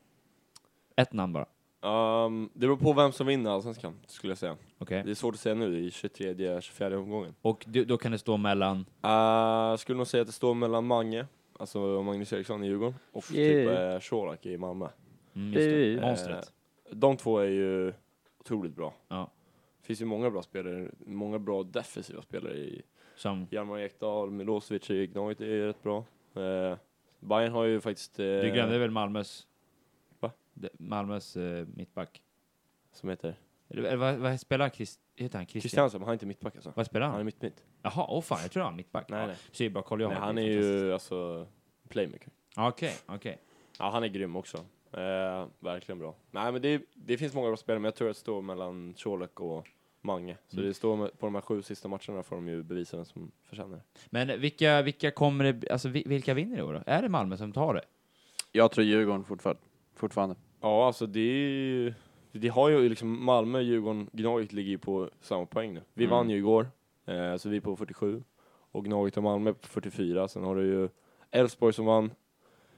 Speaker 1: Ett namn bara.
Speaker 5: Um, det beror på vem som vinner allsvenskan, skulle jag säga.
Speaker 1: Okej.
Speaker 5: Det är svårt att säga nu i 23-24 omgången.
Speaker 1: Och du, då kan det stå mellan...
Speaker 5: Eh, Jag skulle nog säga att det står mellan Mange, alltså Magnus Eriksson i Djurgården, och typ
Speaker 3: Yeah.
Speaker 5: eh, Colak i Malmö.
Speaker 1: Mm, just det.
Speaker 3: Eh,
Speaker 1: Monstret.
Speaker 5: De två är ju otroligt bra.
Speaker 1: Ja.
Speaker 5: Det finns ju många bra spelare, många bra defensiva spelare i
Speaker 1: Som...
Speaker 5: Hjalmar Ekdal, Milosevic i Gnaget är ju rätt bra. Eh, Bayern har ju faktiskt... eh,
Speaker 1: Du glömde väl Malmös...
Speaker 5: Va?
Speaker 1: De- Malmös eh, mittback.
Speaker 5: Som heter?
Speaker 1: Eller, eller vad, vad spelar Christ, heter han? Christian?
Speaker 5: Kristiansen, men han är inte mittback alltså.
Speaker 1: Vad spelar
Speaker 5: Han är
Speaker 1: han?
Speaker 5: mitt mitt.
Speaker 1: Jaha, åh fan, jag tror han är mittback.
Speaker 5: Nej,
Speaker 1: Ja,
Speaker 5: nej.
Speaker 1: Så det är bra koll jag
Speaker 5: Nej,
Speaker 1: har.
Speaker 5: han
Speaker 1: Det
Speaker 5: är
Speaker 1: fantastiskt.
Speaker 5: ju alltså playmaker.
Speaker 1: Ja, Okej, okej.
Speaker 5: Ja, han är grym också. Eh, verkligen bra. Nej, men det, det finns många bra spelare, men jag tror att det står mellan Colak och Mange. Så
Speaker 1: Mm.
Speaker 5: det står med, på de här sju sista matcherna får de ju bevisa vem som förtjänar det.
Speaker 1: Men vilka, vilka kommer det, alltså vi- vilka vinner i år då? Är det Malmö som tar det?
Speaker 3: Jag tror Djurgården fortfarande. fortfarande.
Speaker 5: Ja, alltså det är ju... Det har ju liksom Malmö, Djurgården, Gnaget ligger ju på samma poäng nu. Vi
Speaker 1: Mm.
Speaker 5: vann ju igår, eh, så vi är på 47. Och Gnaget och Malmö är på 44. Sen har du ju Elfsborg som vann,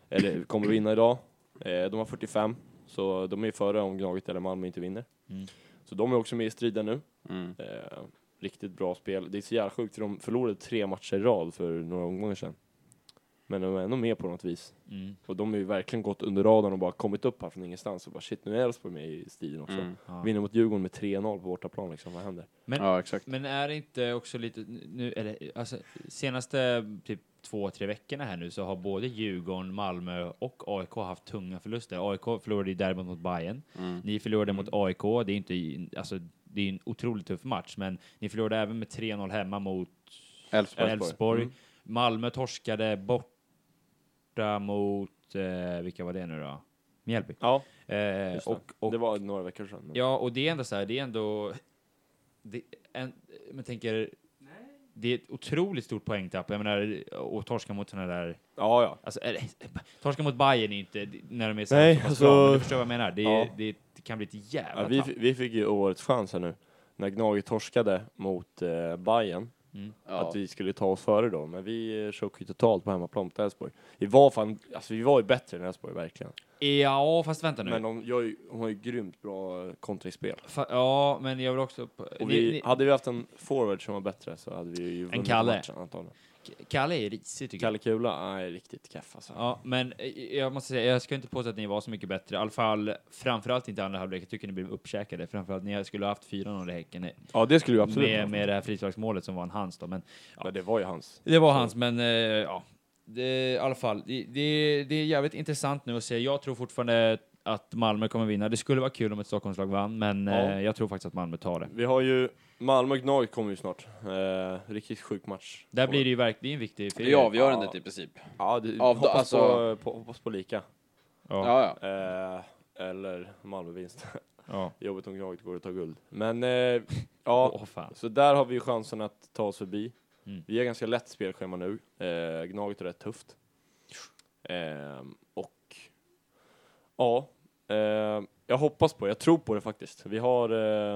Speaker 5: eller kommer vinna idag. Eh, de har 45, så de är före om Gnaget eller Malmö inte vinner.
Speaker 1: Mm.
Speaker 5: Så de är också med i striden nu.
Speaker 3: Mm.
Speaker 5: Eh, riktigt bra spel. Det är så jävla sjukt, för de förlorade tre matcher i rad för några omgångar sedan. Men de är ändå med på något vis.
Speaker 1: Mm.
Speaker 5: Och de har ju verkligen gått under radarn och bara kommit upp här från ingenstans och bara shit, nu är Elfsborg med i striden också.
Speaker 3: Mm.
Speaker 1: Ja.
Speaker 5: Vinner mot Djurgården med 3-0 på bortaplan liksom, vad händer?
Speaker 1: Men-
Speaker 3: Ja, exakt.
Speaker 1: Men är det inte också lite nu, eller alltså senaste typ två, tre veckorna här nu så har både Djurgården, Malmö och AIK haft tunga förluster. AIK förlorade ju derbyt mot Bayern.
Speaker 3: Mm.
Speaker 1: Ni förlorade mot AIK. Det är inte, alltså det är en otroligt tuff match, men ni förlorade även med 3-0 hemma mot
Speaker 3: Elfsborg.
Speaker 1: Elfsborg.
Speaker 5: Mm.
Speaker 1: Malmö torskade borta mot, eh, vilka var det nu då? Mjällby.
Speaker 5: Ja,
Speaker 1: Eh,
Speaker 5: just det.
Speaker 1: och, och
Speaker 5: det var några veckor sedan. men-
Speaker 1: Ja, och det är ändå så här, det är ändå... Det, en, men tänker... Det är ett otroligt stort poängtapp. Jag menar, och torska mot sådana där...
Speaker 5: ja, ja.
Speaker 1: Alltså, eller, torska mot Bayern är ju inte när de är så,
Speaker 5: Nej,
Speaker 1: så pass
Speaker 5: alltså-
Speaker 1: bra, men du förstår vad jag menar. Det, är-
Speaker 5: Ja.
Speaker 1: det, det kan bli ett jävla
Speaker 5: ja vi,
Speaker 1: tapp.
Speaker 5: fi- vi fick ju årets chans här nu, när Gnaget torskade mot eh, Bayern.
Speaker 3: Ja.
Speaker 5: att vi skulle ta oss före då, men vi eh, chockade ju totalt på hemmaplan mot Elfsborg. Vi var fan, alltså vi var ju bättre än Elfsborg verkligen.
Speaker 1: Ja, fast vänta nu.
Speaker 5: Men de, gör ju, de har ju grymt bra eh, kontringsspel.
Speaker 1: Fa, ja, men jag vill också... på-
Speaker 5: Och
Speaker 1: ni,
Speaker 5: vi,
Speaker 1: ni,
Speaker 5: hade vi haft en forward som var bättre så hade vi ju vunnit
Speaker 1: Kalle.
Speaker 5: matchen antagligen.
Speaker 1: Kalle är risig tycker jag.
Speaker 5: Kalle Kula, nej riktigt kaff alltså.
Speaker 1: Ja, men eh, jag måste säga, jag ska inte påstå att ni var så mycket bättre. I alla fall, framförallt inte andra halvlek. Jag tycker ni blev uppkäkade. Framförallt, ni skulle ha haft 4-0 i Häcken.
Speaker 5: Ja det skulle vi absolut
Speaker 1: med,
Speaker 5: haft.
Speaker 1: med det här frisparksmålet som var en hans då. Men ja.
Speaker 5: Men det var ju hans.
Speaker 1: det var
Speaker 5: Så-
Speaker 1: hans, men eh, ja. Det, I alla fall, det, det, det är jävligt intressant nu att se. Jag tror fortfarande att Malmö kommer vinna. Det skulle vara kul om ett Stockholmslag vann, men
Speaker 5: Ja.
Speaker 1: eh, jag tror faktiskt att Malmö tar det.
Speaker 5: Vi har ju, Malmö och Gnaget kommer ju snart. Eh, riktigt sjuk match.
Speaker 1: Där blir det ju verkligen en viktig
Speaker 3: Det är avgörandet
Speaker 5: Ja.
Speaker 3: i princip.
Speaker 5: Ja, det,
Speaker 3: Av-
Speaker 5: hoppas,
Speaker 3: alltså-
Speaker 5: på, på, hoppas på lika.
Speaker 1: Ja, ja.
Speaker 3: Ja, ja.
Speaker 5: Eh, eller Malmö-vinst. Jobbigt om Gnaget går och tar guld. Men eh, ja,
Speaker 1: Åh, fan.
Speaker 5: Så där har vi ju chansen att ta oss förbi.
Speaker 1: Mm.
Speaker 5: Vi har ganska lätt spelschema nu. Eh, Gnaget är rätt tufft. Ehm, och ja, eh, jag hoppas på det, jag tror på det faktiskt. Vi har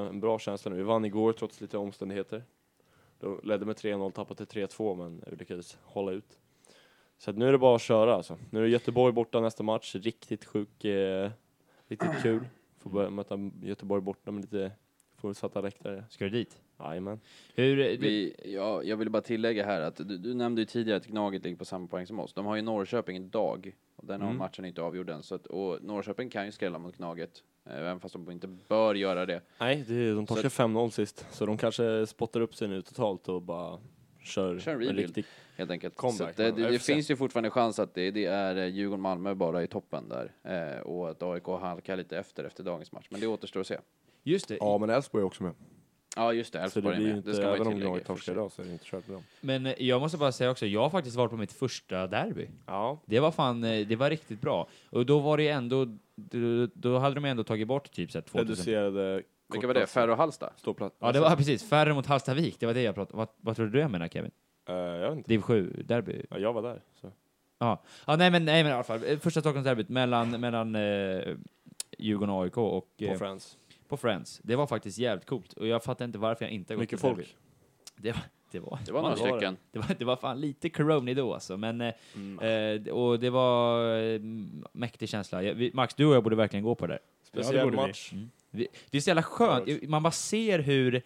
Speaker 5: eh, en bra känsla nu. Vi vann igår trots lite omständigheter. Då ledde med 3-0, tappade till 3-2 men vi lyckades hålla ut. Så att nu är det bara att köra alltså. Nu är det Göteborg borta nästa match, riktigt sjuk, eh, riktigt kul. Får börja möta Göteborg borta med lite fullsatta läktare.
Speaker 1: Ska du dit?
Speaker 5: Jajamän.
Speaker 1: Hur,
Speaker 5: Eh,
Speaker 1: eh, du-
Speaker 3: Vi, ja, jag vill bara tillägga här att du, du nämnde ju tidigare att Gnaget ligger på samma poäng som oss. De har ju Norrköping idag och den har
Speaker 5: Mm.
Speaker 3: matchen inte avgjord än. Så att, och Norrköping kan ju skrälla mot Gnaget, eh, även fast de inte bör göra det.
Speaker 5: Nej, det, de
Speaker 3: Så-
Speaker 5: torskade 5-0 sist, så de kanske spottar upp sig nu totalt och bara kör,
Speaker 3: Kör en
Speaker 5: en
Speaker 3: rebuild.
Speaker 5: riktig
Speaker 3: Helt enkelt.
Speaker 5: Comeback,
Speaker 3: så att det, det, det
Speaker 5: UFC.
Speaker 3: finns ju fortfarande chans att det, det är eh, Djurgården-Malmö bara i toppen där eh, och att AIK halkar lite efter efter dagens match. Men det återstår att se.
Speaker 1: just det,
Speaker 5: Ja, men Elfsborg är också med.
Speaker 3: Ja, just det.
Speaker 5: Så det
Speaker 3: Elfsborg
Speaker 5: blir
Speaker 3: är
Speaker 5: ju
Speaker 3: med.
Speaker 5: inte,
Speaker 3: Det ska man ju
Speaker 5: även om
Speaker 3: tillägga. i
Speaker 5: Gnaget
Speaker 3: och för
Speaker 5: torskar
Speaker 3: sig.
Speaker 5: idag så är det inte kört med dem.
Speaker 1: men eh, jag måste bara säga också, jag har faktiskt varit på mitt första derby.
Speaker 5: Ja,
Speaker 1: Det var fan, eh, det var riktigt bra. Och då var det ju ändå, då, då hade de ändå tagit bort typ så här 2000.
Speaker 5: reducerade
Speaker 3: Vilka var det? Färre och Halsta?
Speaker 5: Ståplats.
Speaker 1: Ja, det var precis. Färre mot Hallstavik, det var det jag pratade om. Vad, vad tror du jag menar Kevin?
Speaker 5: Eh, jag vet inte.
Speaker 1: Div 7-derby?
Speaker 5: Ja, jag var där. Så.
Speaker 1: Ja, nej men, nej men i alla fall. eh, Första Stockholmsderbyt mellan, mellan eh, Djurgården och AIK och
Speaker 5: På
Speaker 1: eh,
Speaker 5: Friends.
Speaker 1: på Friends. Det var faktiskt jävligt coolt och jag fattar inte varför jag inte har gått
Speaker 5: Mycket
Speaker 1: på derby.
Speaker 5: folk.
Speaker 1: Det var,
Speaker 3: Det var några
Speaker 5: var det.
Speaker 3: stycken.
Speaker 1: det var, det var fan lite corona då alltså, men eh,
Speaker 5: Mm.
Speaker 1: eh, och det var eh, mäktig känsla. Jag, vi, Max, du och jag borde verkligen gå på det där.
Speaker 5: Speciell
Speaker 2: Ja, det borde vi.
Speaker 5: match.
Speaker 1: Vi- Det är så jävla skönt, man bara ser hur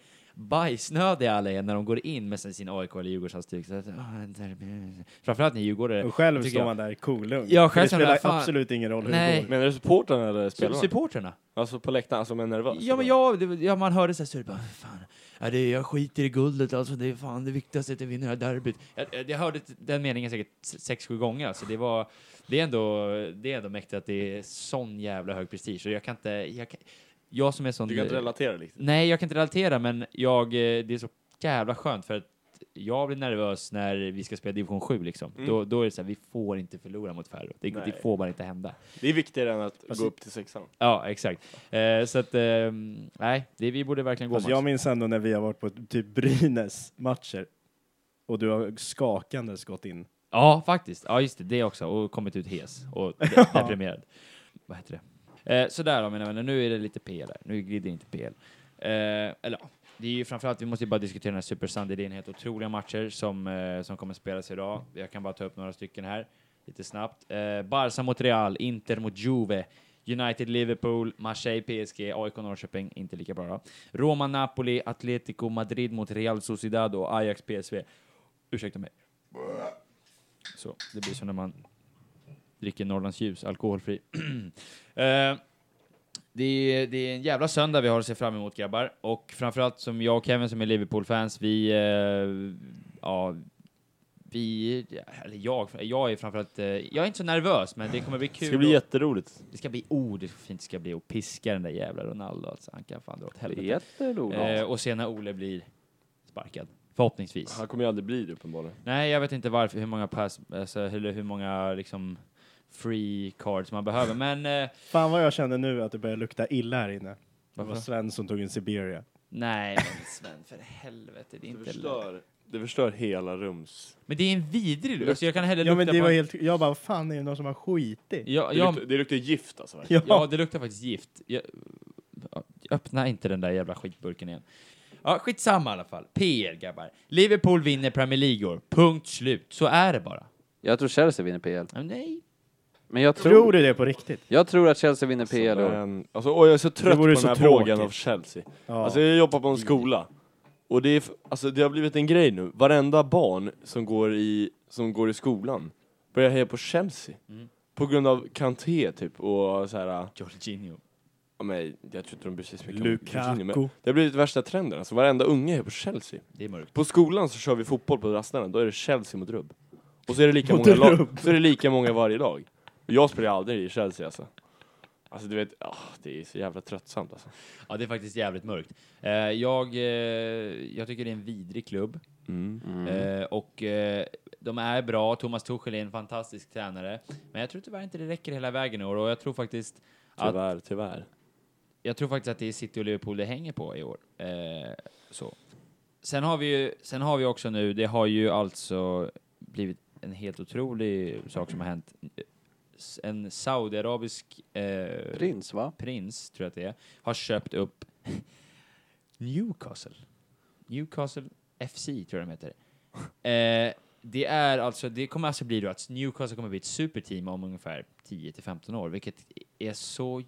Speaker 1: bajsnödiga alla är när de går in med sin- sin AIK eller Djurgårdshalsduk. Så att, "Ah, derby." Framförallt ni djurgårdare.
Speaker 2: Och själv
Speaker 1: tycker
Speaker 2: står
Speaker 1: jag.
Speaker 2: man där kolugn.
Speaker 1: Ja,
Speaker 2: För
Speaker 1: själv
Speaker 2: det
Speaker 1: känner jag,
Speaker 2: spelar
Speaker 1: fan-
Speaker 2: absolut ingen roll hur
Speaker 1: Nej.
Speaker 2: det går.
Speaker 5: Menar du supportrarna eller
Speaker 1: Su-
Speaker 5: spelarna?
Speaker 1: Supporterna.
Speaker 5: Alltså på läktaren, alltså men nervös?
Speaker 1: Ja, men jag, det- ja, man hörde så här, så det bara, fan, ja, det, jag skiter i guldet, alltså, det är fan det viktigaste att jag vinner det här derbyt. Jag, jag, jag hörde t- den meningen säkert s- sex, sju gånger, alltså, det, var, det, är ändå, det är ändå mäktigt att det är sån jävla hög prestige. Och jag kan inte, jag, kan, jag som är sån...
Speaker 5: Du kan inte relatera liksom. riktigt?
Speaker 1: Nej, jag kan inte relatera, men jag, eh, det är så jävla skönt för att jag blir nervös när vi ska spela division 7 liksom.
Speaker 5: Mm.
Speaker 1: Då, då är det så här, vi får inte förlora mot Färö. Det,
Speaker 5: Nej.
Speaker 1: det får bara inte hända.
Speaker 5: Det är viktigare än att
Speaker 2: Fast-
Speaker 5: gå upp till sexan.
Speaker 1: Ja, exakt. Eh, så att, eh, nej, det, vi borde verkligen gå
Speaker 2: Alltså,
Speaker 1: Mats.
Speaker 2: jag minns ändå när vi har varit på typ Brynäs matcher och du har skakandes gått in.
Speaker 1: Ja, faktiskt. Ja, just det. Det också. Och kommit ut hes och de- deprimerad. Vad heter det? Eh, sådär då, mina vänner. Nu är det lite PL här. Nu glider inte PL. Eh, eller ja, det är ju framförallt, vi måste ju bara diskutera den här Super Sunday. Det är en helt otroliga matcher som, eh, som kommer spelas idag. Jag kan bara ta upp några stycken här lite snabbt. Eh, Barca mot Real, Inter mot Juve, United Liverpool, Marseille PSG, AIK Norrköping, inte lika bra då. Roma Napoli, Atletico Madrid mot Real Sociedad och Ajax PSV. Ursäkta mig. Så, det blir så när man dricker Norrlands ljus, alkoholfri. eh, det, är, det är en jävla söndag vi har att se fram emot grabbar och framförallt som jag och Kevin som är Liverpool-fans, vi, eh, ja, vi, eller jag, jag är framförallt, eh, jag är inte så nervös men det kommer bli
Speaker 5: Det
Speaker 1: kul.
Speaker 5: ska bli
Speaker 1: och-
Speaker 5: jätteroligt.
Speaker 1: det ska bli, oh det är så fint det ska bli och piska den där jävla Ronaldo alltså, han kan fan dra åt helvete.
Speaker 3: Jätteroligt.
Speaker 1: Eh, och sen när Ole blir sparkad, förhoppningsvis.
Speaker 5: Han kommer ju aldrig bli det uppenbarligen.
Speaker 1: Nej, jag vet inte varför, hur många pass, alltså, hur, hur många liksom free cards man behöver, men eh,
Speaker 2: Fan vad jag kände nu att det började lukta illa här inne. Det
Speaker 1: Varför?
Speaker 2: var Sven som tog in Siberia.
Speaker 1: nej men Sven, för helvete, det är inte lätt.
Speaker 5: det förstör hela rums...
Speaker 1: Men det är en vidrig lukt, alltså, jag kan hellre
Speaker 2: Ja men
Speaker 1: lukta
Speaker 2: det
Speaker 1: på...
Speaker 2: var helt, jag bara fan är det någon som har skitit?
Speaker 1: ja,
Speaker 5: Det,
Speaker 1: ja,
Speaker 5: luktar, det luktar gift alltså. verkligen.
Speaker 2: Ja.
Speaker 1: ja, det luktar faktiskt gift. Jag, öppna inte den där jävla skitburken igen. Ja, skitsamma i alla fall. PR, grabbar. Liverpool vinner Premier League i år. Punkt slut. Så är det bara.
Speaker 3: Jag tror Chelsea vinner PL.
Speaker 1: Ja, Nej.
Speaker 3: Men jag tror,
Speaker 2: Tror du det på riktigt?
Speaker 3: jag tror att Chelsea vinner
Speaker 5: Så
Speaker 3: PL.
Speaker 5: där
Speaker 3: då.
Speaker 5: en- Alltså, och jag är så trött på
Speaker 2: vore
Speaker 5: den
Speaker 2: så
Speaker 5: här vågen
Speaker 2: tråkigt.
Speaker 5: av Chelsea.
Speaker 2: Ja.
Speaker 5: Alltså jag jobbar på en skola. Och det, är, f- alltså, det har blivit en grej nu. Varenda barn som går i, som går i skolan börjar heja på Chelsea.
Speaker 2: Mm.
Speaker 5: På grund av Kanté typ och så här.
Speaker 1: Jorginho.
Speaker 5: Ja, men, jag tror inte de bryr sig så mycket om Jorginho, men
Speaker 2: Lukaku.
Speaker 5: Det har blivit värsta trenden. Alltså varenda unge hejar på Chelsea.
Speaker 1: Det är mörkt.
Speaker 5: På skolan så kör vi fotboll på rasterna. Då är det Chelsea mot Rubb. Och så är det lika,
Speaker 2: Mot
Speaker 5: många, lag,
Speaker 2: Rubb.
Speaker 5: så är det lika många varje lag. Och jag spelar aldrig i Chelsea alltså. Alltså du vet, ah, det är så jävla tröttsamt alltså.
Speaker 1: Ja, det är faktiskt jävligt mörkt. Eh, jag, eh, jag tycker det är en vidrig klubb. Eh, och eh, de är bra. Thomas Tuchel är en fantastisk tränare. Men jag tror tyvärr inte det räcker hela vägen i år. Och jag tror faktiskt att
Speaker 5: Tyvärr, tyvärr.
Speaker 1: jag tror faktiskt att det är City och Liverpool det hänger på i år. Eh, så. Sen har vi ju, sen har vi också nu, det har ju alltså blivit en helt otrolig sak som har hänt. s- en saudiarabisk eh,
Speaker 3: Prins, va?
Speaker 1: prins, tror jag att det är, har köpt upp Newcastle. Newcastle FC tror jag de heter. Eh, det är alltså, det kommer alltså bli då att Newcastle kommer bli ett superteam om ungefär 10 till 15 år, vilket är så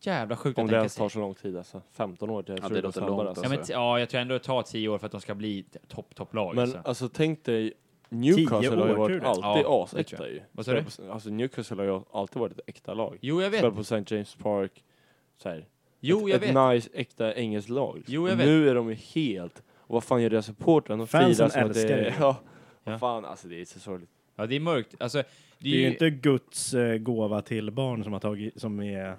Speaker 1: jävla sjukt
Speaker 5: Om
Speaker 1: att
Speaker 5: det
Speaker 1: tänka
Speaker 5: ens
Speaker 1: sig.
Speaker 5: tar så lång tid alltså. 15 år, jag
Speaker 3: Ja,
Speaker 5: tror
Speaker 3: det
Speaker 5: det går
Speaker 3: låter
Speaker 5: snabbare.
Speaker 3: långt,
Speaker 5: alltså.
Speaker 1: Ja, men t- ja, jag tror ändå det tar 10 år för att de ska bli t- topp, topplag.
Speaker 5: Men
Speaker 1: alltså.
Speaker 5: alltså tänk dig, Newcastle har ju
Speaker 2: år, tror
Speaker 5: varit
Speaker 2: du?
Speaker 5: alltid
Speaker 1: Ja, det tror
Speaker 5: asäkta ju.
Speaker 1: Vad sa du?
Speaker 5: Alltså Newcastle har ju alltid varit äh, ett äkta lag.
Speaker 1: Jo, jag vet.
Speaker 5: Spelar på St. James Park, så här.
Speaker 1: Jo,
Speaker 5: ett,
Speaker 1: jag
Speaker 5: ett
Speaker 1: vet.
Speaker 5: nice, äkta engelskt lag. liksom.
Speaker 1: Jo, jag
Speaker 5: Och
Speaker 1: vet.
Speaker 5: Nu är de ju helt, och vad fan gör deras supportrar? De
Speaker 2: Fansen
Speaker 5: firar som att det
Speaker 2: älskar
Speaker 5: är,
Speaker 2: det.
Speaker 5: ja.
Speaker 1: Ja.
Speaker 5: Vad fan, alltså det är så sorgligt.
Speaker 1: Ja, det är mörkt. Alltså, det
Speaker 2: Det
Speaker 1: är
Speaker 2: är ju
Speaker 1: ju
Speaker 2: inte Guds eh, gåva till barn som har, tagit, som är,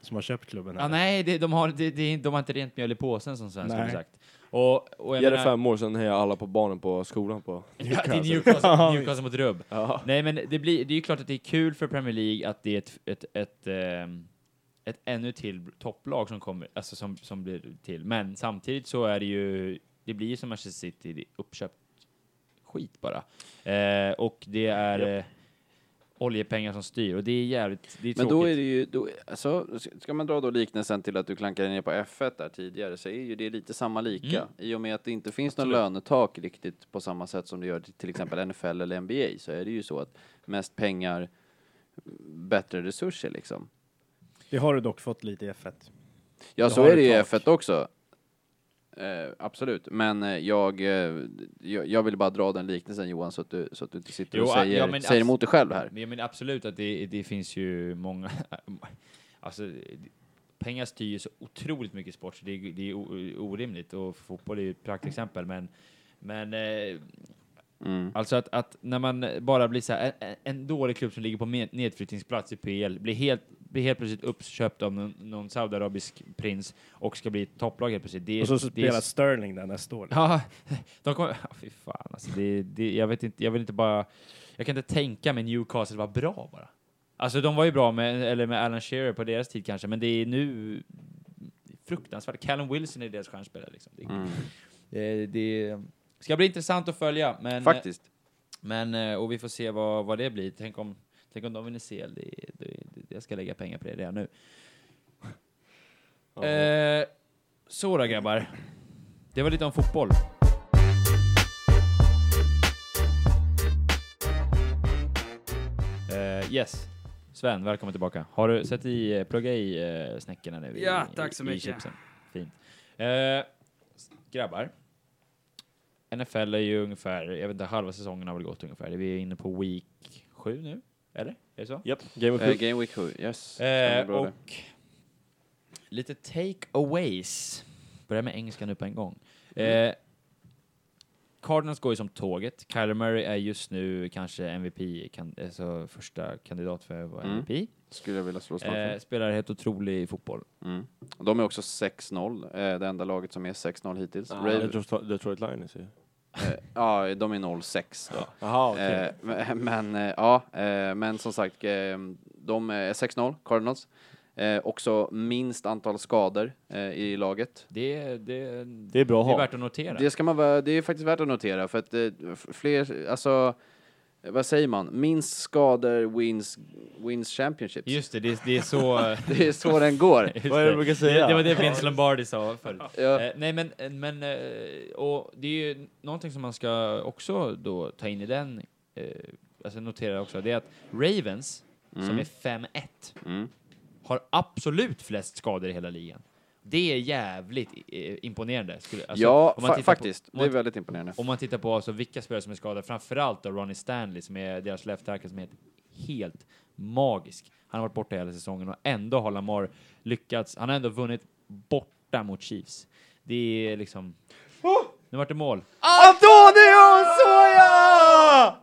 Speaker 2: som har köpt klubben.
Speaker 1: Ja,
Speaker 2: här.
Speaker 1: nej, det, de, har, det, det, de har inte rent mjöl i påsen som svenskar har
Speaker 2: Nej.
Speaker 1: sagt. Och, och jag
Speaker 5: Ge det
Speaker 1: menar-
Speaker 5: fem år, sen hejar alla på barnen på skolan på
Speaker 1: Ja, det är
Speaker 5: Newcastle.
Speaker 1: Newcastle,
Speaker 2: Ja,
Speaker 1: Newcastle mot Rubb.
Speaker 5: Ja.
Speaker 1: Nej, men det, blir, det är ju klart att det är kul för Premier League att det är ett, ett, ett, ehm, ett ännu till topplag som, kommer, alltså som, som blir till. Men samtidigt så är det ju, det blir ju som Manchester City, det är uppköpt skit bara. Eh, och det är eh, oljepengar som styr och det är jävligt, det är
Speaker 3: Men
Speaker 1: tråkigt.
Speaker 3: då är det ju, då, alltså, ska man dra då liknelsen till att du klankade ner på F1 där tidigare så är ju det lite samma lika
Speaker 1: Mm.
Speaker 3: i och med att det inte finns någon
Speaker 1: Absolut.
Speaker 3: lönetak riktigt på samma sätt som det gör till till exempel NFL eller NBA så är det ju så att mest pengar, bättre resurser liksom.
Speaker 2: Det har du dock fått lite i F1.
Speaker 3: Ja,
Speaker 2: Det
Speaker 3: så
Speaker 2: har
Speaker 3: är det ju i
Speaker 2: ett tak.
Speaker 3: F1 också. Eh, absolut, men eh, jag, eh, jag, jag vill bara dra den liknelsen Johan så att du, så att du inte sitter
Speaker 1: Jo,
Speaker 3: och
Speaker 1: ja,
Speaker 3: säger,
Speaker 1: ja, men
Speaker 3: säger
Speaker 1: abs-
Speaker 3: emot dig själv här.
Speaker 1: Men, men absolut att det, det finns ju många, alltså det- pengar styr ju så otroligt mycket sport så det, är- det är o- orimligt och fotboll är ju ett praktexempel men, men eh,
Speaker 3: Mm.
Speaker 1: alltså att, att när man bara blir så här, en, en dålig klubb som ligger på med- nedflyttningsplats i PL blir helt, blir helt plötsligt uppköpt av någon, någon saudiarabisk prins och ska bli ett topplag helt plötsligt. Det,
Speaker 2: Och så
Speaker 1: det är
Speaker 2: spelar Sterling där nästa år.
Speaker 1: Ja, de kommer... Ja, fy fan alltså, det, det, jag, vet inte, jag vill inte bara... Jag kan inte tänka mig Newcastle var bra bara. Alltså de var ju bra med, eller med Alan Shearer på deras tid kanske, men det är nu fruktansvärt. Callum Wilson är deras stjärnspelare liksom. Det,
Speaker 3: Mm.
Speaker 1: det, det ska bli intressant att följa, men...
Speaker 3: Faktiskt.
Speaker 1: Men, eh, och vi får se vad, vad det blir. Tänk om, tänk om de vinner CL, det, det, det, jag ska lägga pengar på det redan nu.
Speaker 5: Ja.
Speaker 1: Eh, så då grabbar. Det var lite om fotboll. Eh, yes. Sven, välkommen tillbaka. Har du sett i, eh, plugga i uh, snäckorna nu? i-
Speaker 4: Ja, tack så
Speaker 1: i,
Speaker 4: mycket.
Speaker 1: I chipsen. Fint. Eh, s- grabbar. NFL är ju ungefär, jag vet inte, halva säsongen har väl gått ungefär. Vi är inne på week sju nu, eller? Är det så?
Speaker 5: Japp, Game of
Speaker 3: Eh,
Speaker 5: Thrones.
Speaker 3: Game Week 7, yes. Stämmer
Speaker 1: Eh,
Speaker 3: bra det.
Speaker 1: och lite takeaways. Börjar med engelska nu på en gång. Eh, Cardinals går ju som tåget. Kyler Murray är just nu kanske MVP, kan, alltså första kandidat för att vara
Speaker 3: Mm.
Speaker 1: MVP.
Speaker 3: Skulle jag vilja slå slag för.
Speaker 1: Eh, spelar helt otrolig fotboll.
Speaker 3: Mm. Och De är också 6-0, eh, det enda laget som är 6-0 hittills.
Speaker 5: Ah,
Speaker 3: Raven-
Speaker 5: Detroit- Detroit Lions ju.
Speaker 3: eh, ja, de är 0-6 då.
Speaker 5: Jaha, okej.
Speaker 3: Eh, men- men, eh, ja, eh, men som sagt, eh, de är 6-0, Cardinals. Eh, också minst antal skador eh, i laget.
Speaker 1: Det, det,
Speaker 5: Det är bra att
Speaker 1: det är
Speaker 5: ha.
Speaker 1: värt att notera.
Speaker 3: Det, ska man, vara- det är faktiskt värt att notera, för att eh, f- fler, alltså, eh, vad säger man? Minst skador wins, wins championships.
Speaker 1: Just det, det, det är så...
Speaker 3: Det är så den går.
Speaker 1: Just
Speaker 5: Vad är det du brukar säga?
Speaker 1: Det, det var det Vince Lombardi sa förut.
Speaker 3: Ja.
Speaker 1: Eh, nej, men, men eh, och det är ju någonting som man ska också då ta in i den, eh, alltså notera också, det är att Ravens, som är 5-1,
Speaker 3: Mm.
Speaker 1: har absolut flest skador i hela ligan. Det är jävligt eh, imponerande. Skulle, alltså,
Speaker 3: ja,
Speaker 1: om man
Speaker 3: fa-
Speaker 1: tittar på-
Speaker 3: faktiskt.
Speaker 1: om
Speaker 3: det är
Speaker 1: man,
Speaker 3: väldigt imponerande.
Speaker 1: om man tittar på alltså vilka spelare som är skadade, framförallt då Ronnie Stanley som är deras left tackle som är helt magisk. Han har varit borta hela säsongen och ändå har Lamar lyckats. Han har ändå vunnit borta mot Chiefs. Det är liksom... Nu vart det mål.
Speaker 3: Antonio Soja!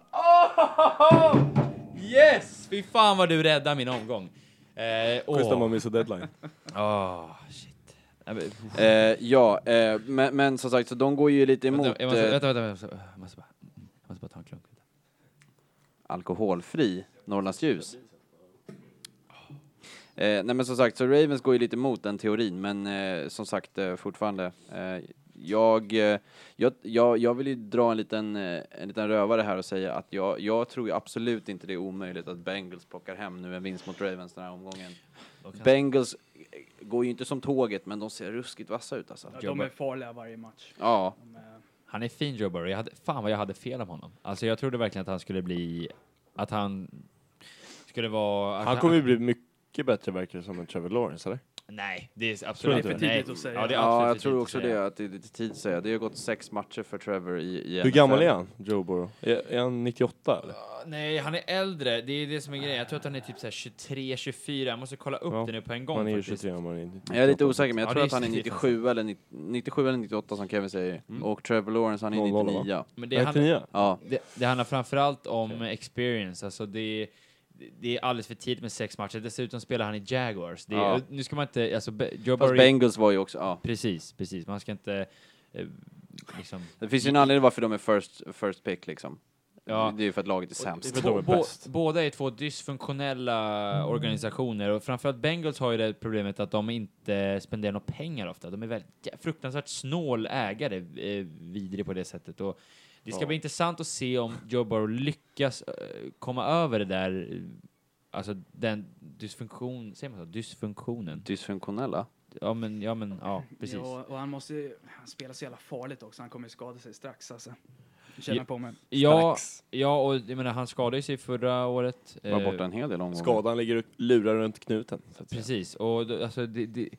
Speaker 1: Yes! Fy fan vad du räddar min omgång. Eh,
Speaker 5: Schysst om
Speaker 1: åh.
Speaker 5: man missar deadline.
Speaker 1: Ah, shit. Nej, men-
Speaker 3: Eh, ja, eh, men, men som sagt, så de går ju lite emot
Speaker 1: Vänta, jag måste-
Speaker 3: eh,
Speaker 1: vänta, vänta, vänta. Jag måste bara- jag måste bara ta en klunk.
Speaker 3: alkoholfri Norrlands ljus. Eh, nej men som sagt, så Ravens går ju lite emot den teorin, men eh, som sagt eh, fortfarande, eh, Jag, eh, jag, jag, jag vill ju dra en liten, eh, en liten rövare här och säga att jag, jag tror ju absolut inte det är omöjligt att Bengals plockar hem nu en vinst mot Ravens den här omgången. Bengals eh, går ju inte som tåget, men de ser ruskigt vassa ut alltså.
Speaker 1: Ja.
Speaker 4: De är farliga varje match.
Speaker 3: Ja,
Speaker 4: De är...
Speaker 1: Han är fin Joe Burrow. Jag hade, fan vad jag hade fel om honom. Alltså jag trodde verkligen att han skulle bli... Att han skulle vara... Att
Speaker 5: Han kommer ju bli mycket bättre verkar det som än Trevor Lawrence, eller?
Speaker 1: Nej, det är absolut
Speaker 5: Det är
Speaker 1: inte.
Speaker 5: för
Speaker 1: Nej.
Speaker 4: tidigt att säga.
Speaker 1: Ja, det är absolut
Speaker 3: ja
Speaker 1: för
Speaker 3: jag tror
Speaker 1: tidigt
Speaker 3: också
Speaker 1: att säga.
Speaker 3: det, att det är lite tid att säga. Det har gått sex matcher för Trevor i, i
Speaker 5: Hur
Speaker 3: NFL.
Speaker 5: gammal är han, Joe Burrow? Är, är han 98 eller?
Speaker 1: Ja, Nej, han är äldre. Det är det som är grejen. Jag tror att han är typ så här 23, 24. Jag måste kolla upp
Speaker 5: Ja,
Speaker 1: det nu på en gång
Speaker 5: Han är ju
Speaker 1: faktiskt.
Speaker 5: 23 om han är 98.
Speaker 3: Jag är lite osäker, men jag
Speaker 1: Ja,
Speaker 3: tror
Speaker 1: det
Speaker 3: att han är
Speaker 1: är
Speaker 3: 97 eller, 90 97 eller 98 som Kevin säger.
Speaker 1: Mm.
Speaker 3: Och Trevor Lawrence, han är
Speaker 5: 00, va?
Speaker 3: 99.
Speaker 1: Men det,
Speaker 5: Det
Speaker 1: handlar,
Speaker 5: 99?
Speaker 3: Ja.
Speaker 1: det, det handlar framförallt om experience. Alltså det, det är alldeles för tidigt med sex matcher. Dessutom spelar han i Jaguars. Det,
Speaker 3: Ja.
Speaker 1: Nu ska man inte... Alltså, Be- Joe
Speaker 3: Fast
Speaker 1: Burrow...
Speaker 3: Bengals var ju också, ja.
Speaker 1: Precis, precis. Man ska inte... Eh, liksom...
Speaker 3: Det finns ju en anledning varför de är first, first pick liksom.
Speaker 1: Ja.
Speaker 3: Det är ju för att laget är
Speaker 5: Det är
Speaker 3: sämst.
Speaker 5: väl
Speaker 1: Två,
Speaker 5: de är
Speaker 1: bå,
Speaker 5: bäst. Mm.
Speaker 1: båda är två dysfunktionella organisationer och framförallt Bengals har ju det problemet att de inte spenderar några pengar ofta. De är väldigt jä- fruktansvärt snål ägare, eh, vidrig på det sättet. Och det ska
Speaker 5: Ja.
Speaker 1: bli intressant att se om Joe Burrow lyckas eh, komma över det där, eh, alltså den dysfunktion, säger man så? Dysfunktionen?
Speaker 3: Dysfunktionella.
Speaker 1: Ja men, ja men, ja precis.
Speaker 4: Ja, och han måste ju, han spelar så jävla farligt också. Han kommer ju skada sig strax alltså. Jag Känner
Speaker 1: Ja.
Speaker 4: på mig.
Speaker 1: Ja, ja och jag menar han skadade ju sig förra året.
Speaker 3: Var
Speaker 1: eh,
Speaker 3: borta en hel del omgångar.
Speaker 5: Skadan ligger och lurar runt knuten. Så att säga.
Speaker 1: Precis, och då, alltså det, det,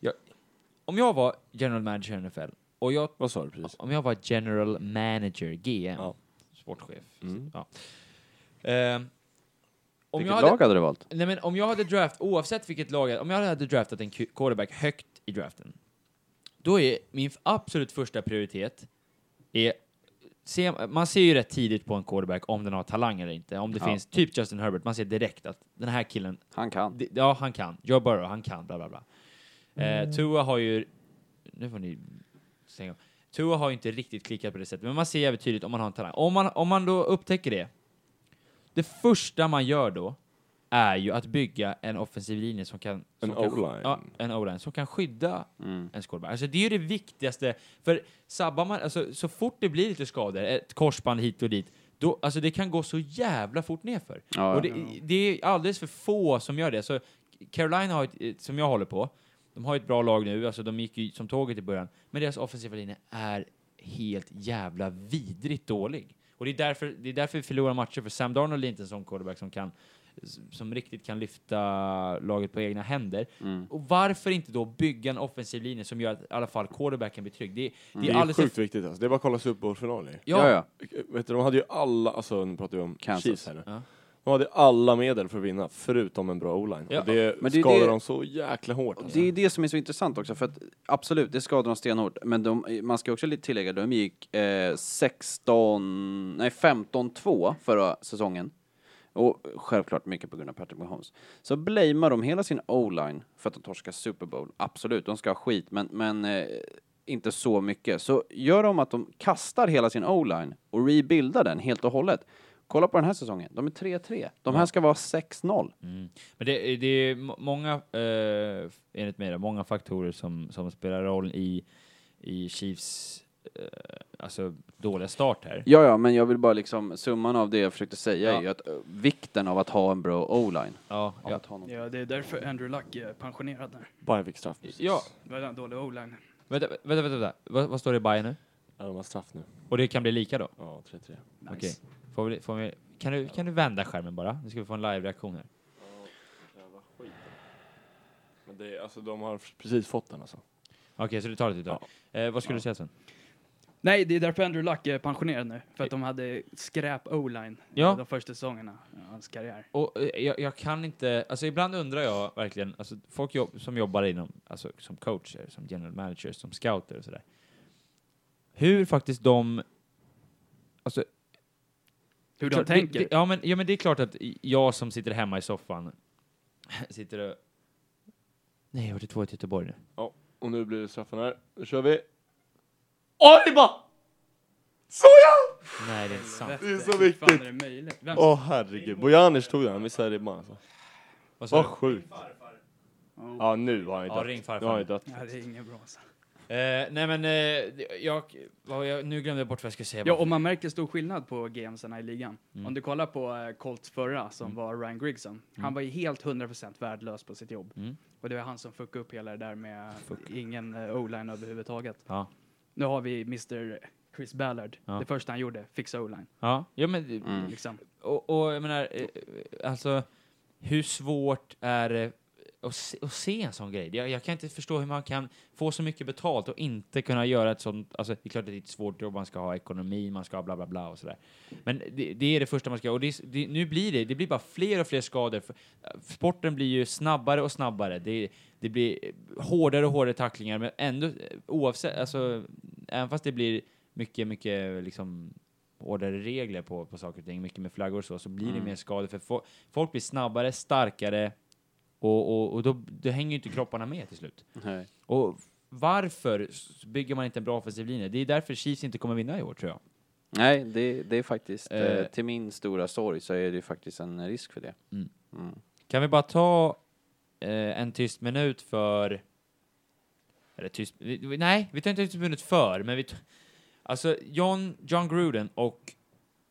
Speaker 1: jag, om jag var general manager i NFL, och jag,
Speaker 5: Vad sa du precis?
Speaker 1: om jag var general manager, GM,
Speaker 5: Ja. Eh,
Speaker 1: sportchef,
Speaker 5: Mm.
Speaker 1: ja. Ehm, om, jag
Speaker 3: Vilket
Speaker 1: hade,
Speaker 3: lag hade du valt?
Speaker 1: nej men om jag hade draft, oavsett vilket lag, jag- om jag hade draftat en Q- quarterback högt i draften, då är min f- absolut första prioritet, är, se, man ser ju rätt tidigt på en quarterback om den har talang eller inte, om det
Speaker 3: Ja.
Speaker 1: finns, typ Justin Herbert, man ser direkt att den här killen
Speaker 3: Han kan.
Speaker 1: det- Ja, han kan. Joe Burrow, han kan, bla bla bla. Eh, Tua har ju... Nu får ni stänga av. Tua har ju inte riktigt klickat på det sättet, men man ser jävligt tydligt om man har en talang. Om man, om man då upptäcker det, det första man gör då är ju att bygga en offensiv linje som kan... Som
Speaker 5: En
Speaker 1: kan-
Speaker 5: O-line.
Speaker 1: Ja, en O-line som kan skydda
Speaker 3: Mm.
Speaker 1: en skorpa. Alltså det är ju det viktigaste, för sabbar man, alltså så fort det blir lite skador, ett korsband hit och dit, då, alltså det kan gå så jävla fort nerför.
Speaker 3: Ja,
Speaker 1: och det, det är alldeles för få som gör det. Så Carolina har ett, som jag håller på, de har ett bra lag nu, alltså de gick ju som tåget i början, men deras offensiva linje är helt jävla vidrigt dålig. Och det är därför, det är därför vi förlorar matcher, för Sam Darnold är inte en sån quarterback som kan som riktigt kan lyfta laget på egna händer.
Speaker 3: Mm.
Speaker 1: Och varför inte då bygga en offensiv linje som gör att i alla fall quarterbacken blir trygg? Det, det
Speaker 5: Det
Speaker 1: är
Speaker 5: är ju
Speaker 1: alldeles...
Speaker 5: sjukt viktigt alltså. Det är bara att kolla Super Bowl-finaler.
Speaker 1: Ja,
Speaker 3: Ja, ja.
Speaker 5: Vet du, de hade ju alla, alltså nu pratar vi om
Speaker 3: Kansas.
Speaker 5: Chiefs här nu.
Speaker 1: Ja.
Speaker 5: De hade alla medel för att vinna, förutom en bra o-line.
Speaker 1: Ja.
Speaker 5: Och det
Speaker 3: Men det är
Speaker 5: skadade
Speaker 3: det-
Speaker 5: dem så jäkla hårt.
Speaker 3: Och
Speaker 5: Alltså.
Speaker 3: Det är det som är så intressant också, för att absolut, det skadar dem stenhårt. Men de, man ska också lite tillägga, de gick eh, 16, nej 15-2 förra säsongen. Och självklart mycket på grund av Patrick Mahomes. Så blamear de hela sin o-line för att de torskar Super Bowl. Absolut, de ska ha skit, men, men eh, inte så mycket. Så gör de att de kastar hela sin o-line och rebuildar den helt och hållet. Kolla på den här säsongen, de är 3-3. De här ska vara 6-0.
Speaker 1: Mm. Men det, det är må- många, eh, enligt mig, då, många faktorer som, som spelar roll i, i Chiefs eh, alltså, dåliga start här.
Speaker 3: Ja, ja, men jag vill bara liksom, summan av det jag försökte säga
Speaker 1: Ja.
Speaker 3: är ju att eh, vikten av att ha en bra o-line.
Speaker 1: Ja,
Speaker 3: Av
Speaker 1: ja.
Speaker 3: att ha någon-
Speaker 4: Ja, det är därför Andrew Luck är pensionerad nu.
Speaker 5: Bayern fick straff. precis.
Speaker 1: ja
Speaker 4: Det var en dålig o-line.
Speaker 1: vänta, vänta, vänta, vänta. Vad, vad står det i Bayern nu?
Speaker 5: Ja, de har straff nu.
Speaker 1: Och det kan bli lika då?
Speaker 5: Ja, 3-3.
Speaker 4: Nice.
Speaker 1: Okej. Får vi, får vi, kan, du, kan du vända skärmen bara? Nu ska vi få en live-reaktion här.
Speaker 5: Men det är, alltså, de har precis fått den alltså.
Speaker 1: Okej, så du tar det ett tag. Eh, vad skulle du säga sen?
Speaker 4: Nej, det är därför Andrew Luck är pensionerad nu. För att de hade skräp o-line
Speaker 1: Ja.
Speaker 4: de första säsongerna av hans karriär.
Speaker 1: Och eh, jag, jag kan inte, alltså ibland undrar jag verkligen, alltså folk jobb, som jobbar inom, alltså som coacher, som general managers, som scouter och sådär. Hur faktiskt de, alltså
Speaker 4: Hur
Speaker 1: Klart,
Speaker 4: de tänker.
Speaker 1: Det, det, ja, men, ja, men det är klart att jag som sitter hemma i soffan sitter och... Nej, jag har två i Göteborg nu.
Speaker 5: Och nu blir det straffen här. Nu kör vi!
Speaker 1: Nej, det är inte sant.
Speaker 4: Helvete,
Speaker 5: Det är så
Speaker 4: hur
Speaker 5: viktigt.
Speaker 4: Fan är det möjligt? Vem
Speaker 5: Åh herregud, Bojanic tog den, han missade ribban alltså.
Speaker 1: Vad sa
Speaker 5: Vad
Speaker 1: du?
Speaker 5: sjukt. Ja nu har han ju
Speaker 1: Ja,
Speaker 5: dött.
Speaker 1: ring farfar.
Speaker 5: Nu har han ju dött.
Speaker 4: Ja, det är inget bra. Alltså.
Speaker 1: Eh, nej men, eh, jag, vad jag, nu glömde jag bort vad jag skulle säga.
Speaker 4: Ja, och man märker stor skillnad på GMsarna i ligan.
Speaker 1: Mm.
Speaker 4: Om du kollar på eh, Colts förra, som var Ryan Grigson. Han var ju helt 100% värdelös på sitt jobb.
Speaker 1: Mm.
Speaker 4: Och det var han som fuckade upp hela det där med ingen eh, O-line överhuvudtaget.
Speaker 1: Ja.
Speaker 4: Nu har vi Mr. Chris Ballard.
Speaker 1: Ja.
Speaker 4: Det första han gjorde, fixa O-line.
Speaker 1: Ja, ja men,
Speaker 3: Mm.
Speaker 4: Liksom.
Speaker 1: och, och jag menar, eh, alltså, hur svårt är det att se, att se en sån grej? Jag, jag kan inte förstå hur man kan få så mycket betalt och inte kunna göra ett sånt, alltså det är klart att det är ett svårt jobb, man ska ha ekonomi, man ska ha bla bla bla och sådär. Men det, det är det första man ska göra, och det, är s- det, nu blir det, det blir bara fler och fler skador. För, eh, sporten blir ju snabbare och snabbare, det, det blir eh, hårdare och hårdare tacklingar, men ändå, eh, oavsett, alltså, även fast det blir mycket, mycket liksom hårdare regler på, på saker och ting, mycket med flaggor och så, så blir det
Speaker 3: Mm.
Speaker 1: mer skador för fo- folk blir snabbare, starkare och, och, och då, då hänger ju inte kropparna med till slut.
Speaker 3: Nej.
Speaker 1: Och varför s- bygger man inte en bra offensiv linje? Det är därför Chiefs inte kommer vinna i år tror jag.
Speaker 3: Nej, det, det är faktiskt, eh,
Speaker 1: Eh.
Speaker 3: till min stora sorg så är det ju faktiskt en risk för det.
Speaker 1: Mm.
Speaker 3: Mm.
Speaker 1: Kan vi bara ta eh, en tyst minut för... Eller tyst... vi- vi- Nej, vi tar inte en tyst minut för, men vi... t- Alltså, John, John Gruden och...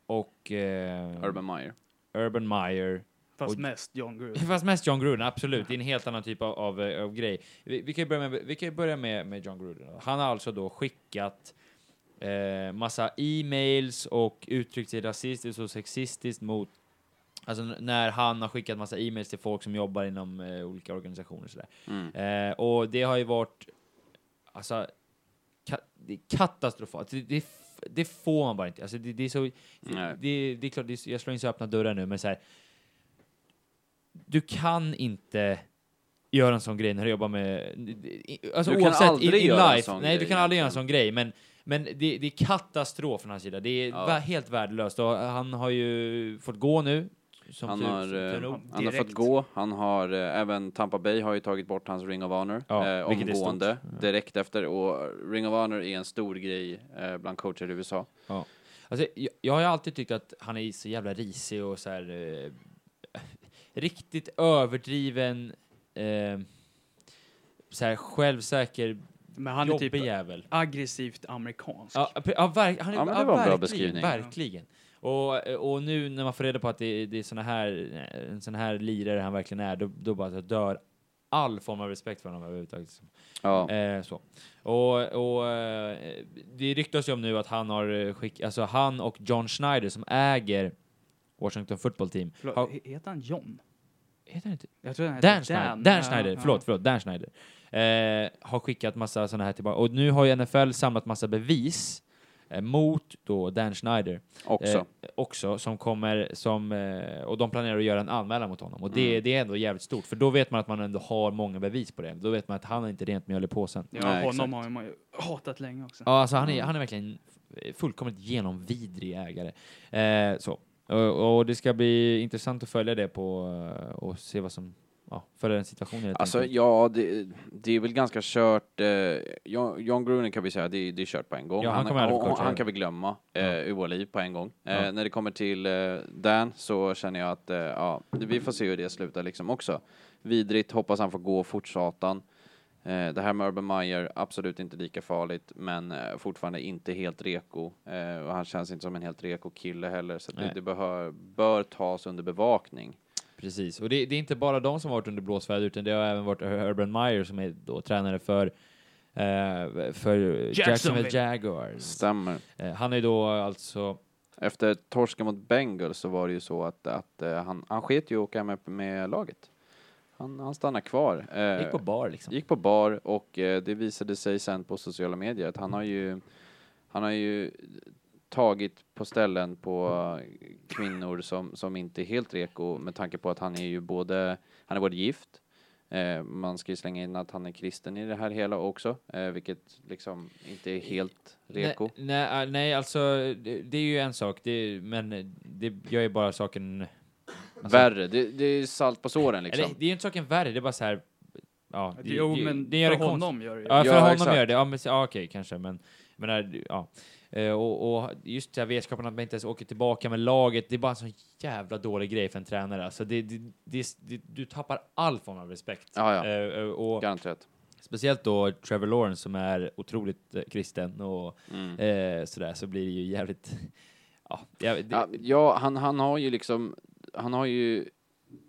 Speaker 1: Och... Eh,
Speaker 3: Urban Meyer.
Speaker 1: Urban Meyer.
Speaker 4: Fast
Speaker 1: Och-
Speaker 4: mest John Gruden.
Speaker 1: Fast mest John Gruden, absolut. Det är en helt annan typ av, av, eh, av grej. Vi, vi kan ju börja, med, vi kan ju börja med, med John Gruden. Han har alltså då skickat eh, massa e-mails och uttryckt sig rasistiskt och sexistiskt mot... Alltså n- när han har skickat massa e-mails till folk som jobbar inom eh, olika organisationer och sådär.
Speaker 3: Mm.
Speaker 1: Eh, och det har ju varit alltså, ka- det är katastrofalt. Det, det, f- det får man bara inte. Alltså, det, det är så,
Speaker 3: Nej.
Speaker 1: det, det är klart, det är, så- jag slår in så öppna dörrar nu, men så här. Du kan inte göra en sån grej när du jobbar med... i- Alltså
Speaker 3: Du kan
Speaker 1: oavsett,
Speaker 3: aldrig
Speaker 1: in, in
Speaker 3: göra en
Speaker 1: life.
Speaker 3: sån
Speaker 1: Nej, du
Speaker 3: grej
Speaker 1: kan aldrig göra en
Speaker 3: egentligen.
Speaker 1: sån grej, men, men det, det är katastrof från hans sida. Det är
Speaker 3: Ja.
Speaker 1: vä- helt värdelöst och han har ju fått gå nu. Som
Speaker 3: Han
Speaker 1: tur,
Speaker 3: har,
Speaker 1: som tur
Speaker 3: eh,
Speaker 1: nog.
Speaker 3: Han har fått
Speaker 4: Direkt.
Speaker 3: gå, han har, eh, även Tampa Bay har ju tagit bort hans Ring of Honor
Speaker 1: Ja,
Speaker 3: eh,
Speaker 1: vilket är
Speaker 3: omgående, direkt efter. Och Ring of Honor är en stor grej eh, bland coacher i USA.
Speaker 1: Alltså, jag, jag har ju alltid tyckt att han är så jävla risig och så här eh, riktigt överdriven eh, så här självsäker,
Speaker 4: Men han är
Speaker 1: jobbig
Speaker 4: typ
Speaker 1: jävel.
Speaker 4: aggressivt amerikansk.
Speaker 1: Ja, pe- ja, verk, han är,
Speaker 3: Ja, men det
Speaker 1: ja,
Speaker 3: var en bra
Speaker 1: verkligen,
Speaker 3: beskrivning.
Speaker 1: Verkligen. Och, och nu när man får reda på att det, det är såna här, en sån här lirare han verkligen är, då, då bara så dör all form av respekt för honom överhuvudtaget.
Speaker 3: Ja.
Speaker 1: Eh, så. Och, och eh, det ryktas ju om nu att han har eh, skick, alltså han och John Schneider som äger Washington football team.
Speaker 4: Förlåt,
Speaker 1: Har,
Speaker 4: he- Heter han John?
Speaker 1: heter han inte?
Speaker 4: Jag tror han heter
Speaker 1: Dan Schneider, Dan
Speaker 4: Ja,
Speaker 1: Schneider
Speaker 4: ja.
Speaker 1: förlåt, förlåt, Dan Schneider. Eh, har skickat massa sådana här tillbaka. Och nu har ju NFL samlat massa bevis eh, mot då Dan Schneider
Speaker 3: Också.
Speaker 1: Eh, också som kommer som eh, och de planerar att göra en anmälan mot honom och det,
Speaker 3: Mm.
Speaker 1: det är ändå jävligt stort för då vet man att man ändå har många bevis på det. Då vet man att han har inte rent mjöl i påsen.
Speaker 4: Ja,
Speaker 3: Nej,
Speaker 4: honom
Speaker 3: exakt.
Speaker 4: har man ju hatat länge också.
Speaker 1: Ja, alltså han är,
Speaker 3: Mm.
Speaker 1: han är verkligen fullkomligt genomvidrig ägare. Eh, så. Och, och det ska bli intressant att följa det på eh, och se vad som, ja, följa den situationen helt
Speaker 3: Alltså
Speaker 1: enkelt.
Speaker 3: ja, det, det är väl ganska kört. Eh, John, John Gruden kan vi säga, det, det är kört på en gång.
Speaker 1: Ja, han kommer aldrig få
Speaker 3: han,
Speaker 1: coacha
Speaker 3: han
Speaker 1: det.
Speaker 3: kan vi glömma eh,
Speaker 1: Ja.
Speaker 3: ur våra liv på en gång. Eh,
Speaker 1: Ja.
Speaker 3: När det kommer till eh, Dan så känner jag att eh, ja, vi får se hur det slutar liksom också. Vidrigt, hoppas han får gå fort satan. Eh, det här med Urban Meyer, absolut inte lika farligt, men eh, fortfarande inte helt reko. Eh, och han känns inte som en helt reko kille heller, så att det,
Speaker 1: Nej. Mm.
Speaker 3: det behör, bör tas under bevakning.
Speaker 1: Precis, och det, det är inte bara de som har varit under blåsväder utan det har även varit Urban Meyer som är då tränare för eh, för Jacksonville
Speaker 4: Jacksonville.
Speaker 1: Jaguars.
Speaker 3: Stämmer.
Speaker 1: Eh, han är då alltså,
Speaker 3: Efter torsken mot Bengals så var det ju så att, att eh, han, han sket ju att åka med, med laget. Han, han stannade kvar. Eh,
Speaker 1: gick på bar liksom.
Speaker 3: gick på bar och eh, det visade sig sen på sociala medier att han har ju, han har ju tagit på ställen på eh, kvinnor som, som inte är helt reko med tanke på att han är ju både, han är både gift, eh, man ska ju slänga in att han är kristen i det här hela också, eh, vilket liksom inte är helt reko.
Speaker 1: Nej, nej, äh, nej alltså det, det är ju en sak, det, men det gör ju bara saken Alltså-
Speaker 3: Värre, det, det är salt på såren liksom.
Speaker 1: Eller, det är ju inte saken värre, det är bara så här. Ja, det,
Speaker 4: Jo,
Speaker 1: det,
Speaker 4: men
Speaker 1: det gör
Speaker 4: för
Speaker 1: det konst-
Speaker 4: honom gör det ju.
Speaker 1: Ja, för
Speaker 3: Ja,
Speaker 1: honom
Speaker 3: exakt.
Speaker 1: gör det. Ja, men, ja okej, kanske, men... men där, ja. Eh, och, och just det här vetskapen att man inte ens åker tillbaka med laget, det är bara en sån jävla dålig grej för en tränare. Alltså, det, det, det, det, du tappar all form av respekt.
Speaker 3: Ja, ja.
Speaker 1: Eh, eh, och,
Speaker 3: Garanterat.
Speaker 1: Speciellt då Trevor Lawrence som är otroligt eh, kristen och
Speaker 3: Mm.
Speaker 1: eh, sådär, så blir det ju jävligt... Ja, jävligt
Speaker 3: Ja, ja han, han har ju liksom, han har ju,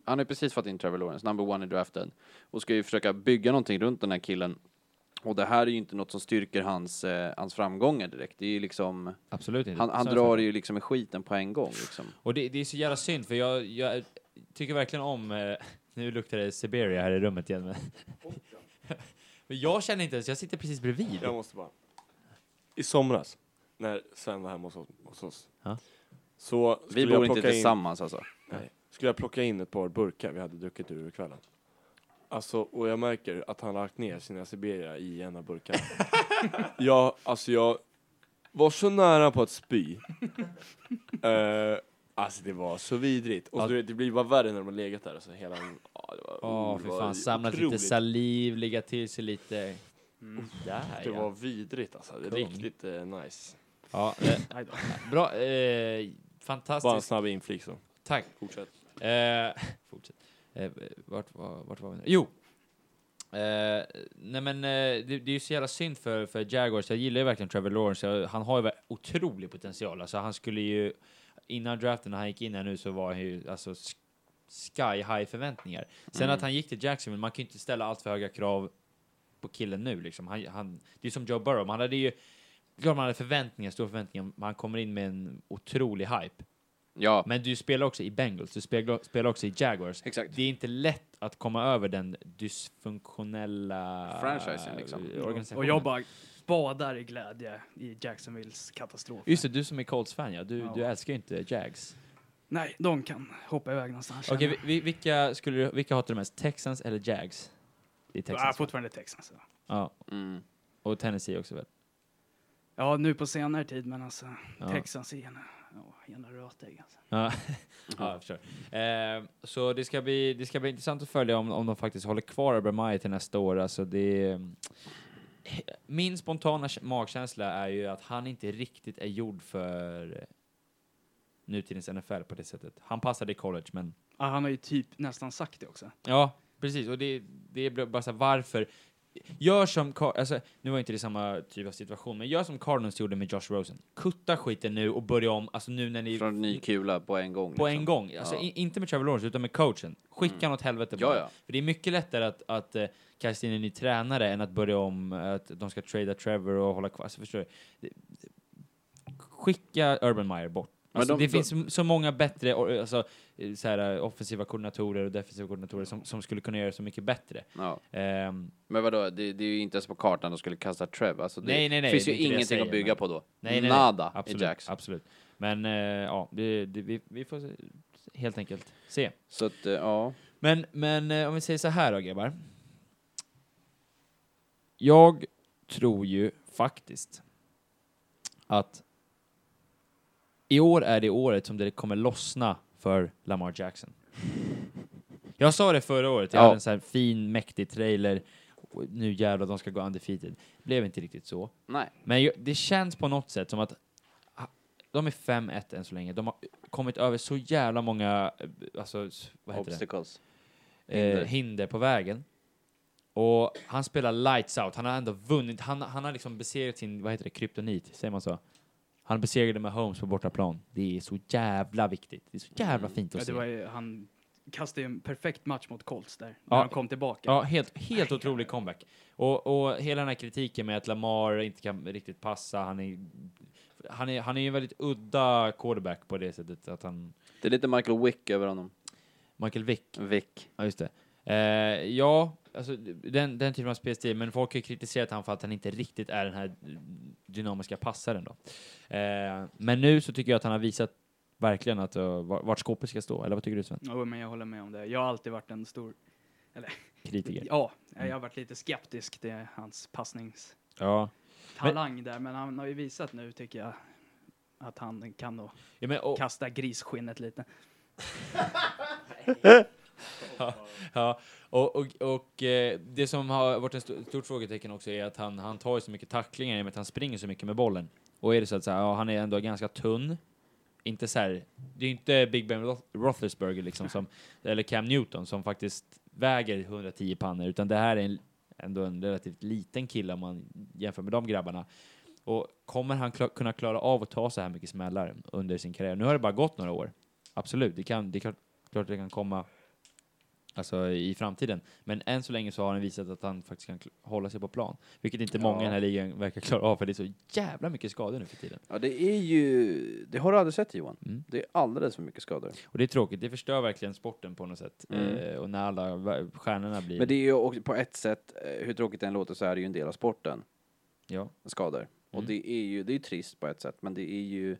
Speaker 3: han har ju precis fått in Trevor Lawrence, number one i draften, och ska ju försöka bygga någonting runt den här killen. Och det här är ju inte något som styrker hans, eh, hans framgångar direkt. Det är ju liksom,
Speaker 1: absolut inte.
Speaker 3: han, han
Speaker 1: Så-
Speaker 3: drar ju liksom i skiten på en gång liksom.
Speaker 1: Och det, det är så jävla synd, för jag, jag tycker verkligen om... Eh, nu luktar det Siberia här i rummet igen. Men Men jag känner inte ens, jag sitter precis bredvid.
Speaker 5: Jag måste bara. I somras, när Sven var hemma hos, hos oss,
Speaker 1: Ja.
Speaker 5: så skulle
Speaker 3: Vi
Speaker 5: jag
Speaker 3: bor inte
Speaker 5: plocka in,
Speaker 3: tillsammans alltså.
Speaker 5: Nej, skulle jag plocka in ett par burkar vi hade druckit ur över kvällen. Alltså, och jag märker att han har lagt ner sina Siberia i en av burkarna. jag, alltså jag var så nära på att spy. Eh, alltså det var så vidrigt. Och
Speaker 1: Ja.
Speaker 5: du vet, det blir bara värre när de har legat där. Alltså, hela, en- ja, det var,
Speaker 1: Åh,
Speaker 5: det
Speaker 1: fy
Speaker 5: var
Speaker 1: fan. Samlat lite
Speaker 5: otroligt.
Speaker 1: saliv, lägga till sig lite...
Speaker 4: Mm.
Speaker 1: Där,
Speaker 5: Det
Speaker 1: ja.
Speaker 5: var vidrigt alltså. Det är
Speaker 1: Kung.
Speaker 5: Riktigt eh, nice.
Speaker 1: ja eh,
Speaker 4: Aj då.
Speaker 1: bra, eh,
Speaker 5: Bara en
Speaker 1: fantastiskt.
Speaker 5: snabb inflik så.
Speaker 1: Tack.
Speaker 5: Fortsätt.
Speaker 1: Eh, fortsätt. Eh, vart, var, vart var vi nu? Jo! Eh, nej men eh, det, det är ju så jävla synd för, för Jaguars. Jag gillar ju verkligen Trevor Lawrence. Jag, han har ju ver- otrolig potential. Alltså han skulle ju... Innan draften, när han gick in här nu, så var han ju alltså sk- sky high förväntningar. Sen
Speaker 3: Mm.
Speaker 1: att han gick till Jacksonville, man kan ju inte ställa allt för höga krav på killen nu liksom. Han, han, det är som Joe Burrow, man hade ju... Klart man hade förväntningar, stora förväntningar, men han kommer in med en otrolig hype.
Speaker 3: Ja,
Speaker 1: Men du spelar också i Bengals, du spelar, spelar också i Jaguars.
Speaker 3: exakt.
Speaker 1: Det är inte lätt att komma över den dysfunktionella
Speaker 3: Franchisen, liksom.
Speaker 1: eh, organisationen.
Speaker 4: Och jag bara badar i glädje i Jacksonvilles katastrof.
Speaker 1: Just det, du som är Colts-fan ja. Du,
Speaker 4: Ja.
Speaker 1: du älskar ju inte Jags.
Speaker 4: Nej, de kan hoppa iväg någonstans.
Speaker 1: Okej, vi-
Speaker 4: känner
Speaker 1: vi, vilka, skulle du- vilka hatar du mest? Texans eller Jags? Det är
Speaker 4: jag. ah,
Speaker 1: Texans.
Speaker 4: fortfarande Texas. ja.
Speaker 1: Ja,
Speaker 3: Mm.
Speaker 1: och Tennessee också väl?
Speaker 4: Ja, nu på senare tid, men alltså
Speaker 1: Ja.
Speaker 4: Texas är en, ja, en rötägg. Alltså.
Speaker 1: Ja, ja jag förstår. Eh, så det ska, bli, det ska bli intressant att följa om, om de faktiskt håller kvar Abraham till nästa år. Alltså det, eh, min spontana k- magkänsla är ju att han inte riktigt är gjord för nutidens NFL på det sättet. Han passade i college, men
Speaker 4: Ah, han har ju typ nästan sagt det också.
Speaker 1: ja, precis. Och det, det är bara så här, varför? Gör som, Car- alltså, nu var inte det samma typ av situation, men gör som Cardinals gjorde med Josh Rosen. Kutta skiten nu och börja om, alltså nu när ni
Speaker 3: Från ny kula på en gång.
Speaker 1: på
Speaker 3: liksom.
Speaker 1: en gång. Alltså,
Speaker 3: Ja.
Speaker 1: i- inte med Trevor Lawrence, utan med coachen. Skicka
Speaker 3: Mm.
Speaker 1: honom åt helvete
Speaker 3: Ja,
Speaker 1: bara.
Speaker 3: ja.
Speaker 1: För det är mycket lättare att, att eh, kasta in en ny tränare än att börja om, eh, att de ska trada Trevor och hålla kvar. Alltså, förstår du? Det- det- Skicka Urban Meyer bort.
Speaker 3: Men
Speaker 1: Alltså,
Speaker 3: de-
Speaker 1: det
Speaker 3: de-
Speaker 1: finns så- så många bättre or- alltså, eh, så här, eh, offensiva koordinatorer och defensiva koordinatorer som, som skulle kunna göra så mycket bättre.
Speaker 3: Ja.
Speaker 1: Ehm,
Speaker 3: Men vadå, det, det är ju inte ens på kartan de skulle kasta Trev. Alltså det
Speaker 1: Nej, nej, nej,
Speaker 3: finns
Speaker 1: det är
Speaker 3: ju
Speaker 1: inte det jag
Speaker 3: ingenting
Speaker 1: säger,
Speaker 3: att bygga
Speaker 1: men-
Speaker 3: på då.
Speaker 1: nej, nej,
Speaker 3: Nada
Speaker 1: nej. Absolut,
Speaker 3: Ah, i Jacks.
Speaker 1: Absolut. Men eh, ja, det, det, vi, vi får se- helt enkelt se.
Speaker 3: Så att, eh, ja.
Speaker 1: Men, men eh, om vi säger så här då grabbar. Jag tror ju faktiskt att i år är det året som det kommer lossna för Lamar Jackson. Jag sa det förra året, jag
Speaker 3: Ja.
Speaker 1: hade en sån här fin, mäktig trailer. Och Nu jävlar, de ska gå undefeated. Det blev inte riktigt så.
Speaker 3: Nej.
Speaker 1: Men ju- det känns på något sätt som att ah, de är 5-1 än så länge. De har kommit över så jävla många, eh, alltså, s- vad heter det?
Speaker 3: Obstacles.
Speaker 1: hinder.
Speaker 3: Hinder.
Speaker 1: Eh, hinder på vägen. Och han spelar lights out. Han har ändå vunnit. Han, han har liksom besegrat sin, vad heter det, kryptonit, säger man så? Han besegrade med Holmes på bortaplan. Det är så jävla viktigt. Det är så jävla fint att
Speaker 4: Mm. Ja, det
Speaker 1: se.
Speaker 4: var ju, han kastade ju en perfekt match mot Colts där, när
Speaker 1: Ja.
Speaker 4: han kom tillbaka.
Speaker 1: Ja, helt, helt otrolig comeback. Och, och hela den här kritiken med att Lamar inte kan riktigt passa, han är, han är, han är ju en väldigt udda quarterback på det sättet att han...
Speaker 3: Det är lite Michael Wick över honom.
Speaker 1: Michael Vick
Speaker 3: Wick.
Speaker 1: Ja, just det. Eh, ja, alltså, den, den typen av spelstil, men folk har ju kritiserat han för att han inte riktigt är den här dynamiska passaren då. Eh, men nu så tycker jag att han har visat verkligen att uh, var- vart skåpet ska stå, eller vad tycker du Sven?
Speaker 4: Jo, men jag håller med om det. Jag har alltid varit en stor...
Speaker 1: Kritiker.
Speaker 4: Ja,
Speaker 1: Mm.
Speaker 4: jag har varit lite skeptisk till hans passningstalang
Speaker 1: Ja.
Speaker 4: där, men han har ju visat nu, tycker jag, att han kan nog
Speaker 1: ja men, och,
Speaker 4: kasta grisskinnet lite.
Speaker 1: Ja, och, och, och eh, det som har varit ett st- stort frågetecken också är att han, han tar ju så mycket tacklingar i och med att han springer så mycket med bollen. Och är det så att så här, ja, han är ändå ganska tunn, inte så här, det är ju inte Big Ben Roth- Roethlisberger liksom som, eller Cam Newton som faktiskt väger 110 pannor, utan det här är en, ändå en relativt liten kille om man jämför med de grabbarna. Och kommer han kla- kunna klara av att ta så här mycket smällar under sin karriär? Nu har det bara gått några år. Absolut, det, kan, det är klart, klart det kan komma alltså, i framtiden. Men än så länge så har han visat att han faktiskt kan kl- hålla sig på plan. Vilket inte många i den här ligan verkar klara av, för det är så jävla mycket skador nu för tiden.
Speaker 3: Ja, det är ju... Det har du aldrig sett Johan.
Speaker 1: Mm.
Speaker 3: Det är alldeles för mycket skador.
Speaker 1: Och det är tråkigt, det förstör verkligen sporten på något sätt.
Speaker 3: Mm.
Speaker 1: Eh, och när alla va- stjärnorna blir...
Speaker 3: Men det är ju också på ett sätt, eh, hur tråkigt det än låter, så är det ju en del av sporten,
Speaker 1: ja.
Speaker 3: skador. Och
Speaker 1: Mm.
Speaker 3: det är ju det är ju trist på ett sätt, men det är ju...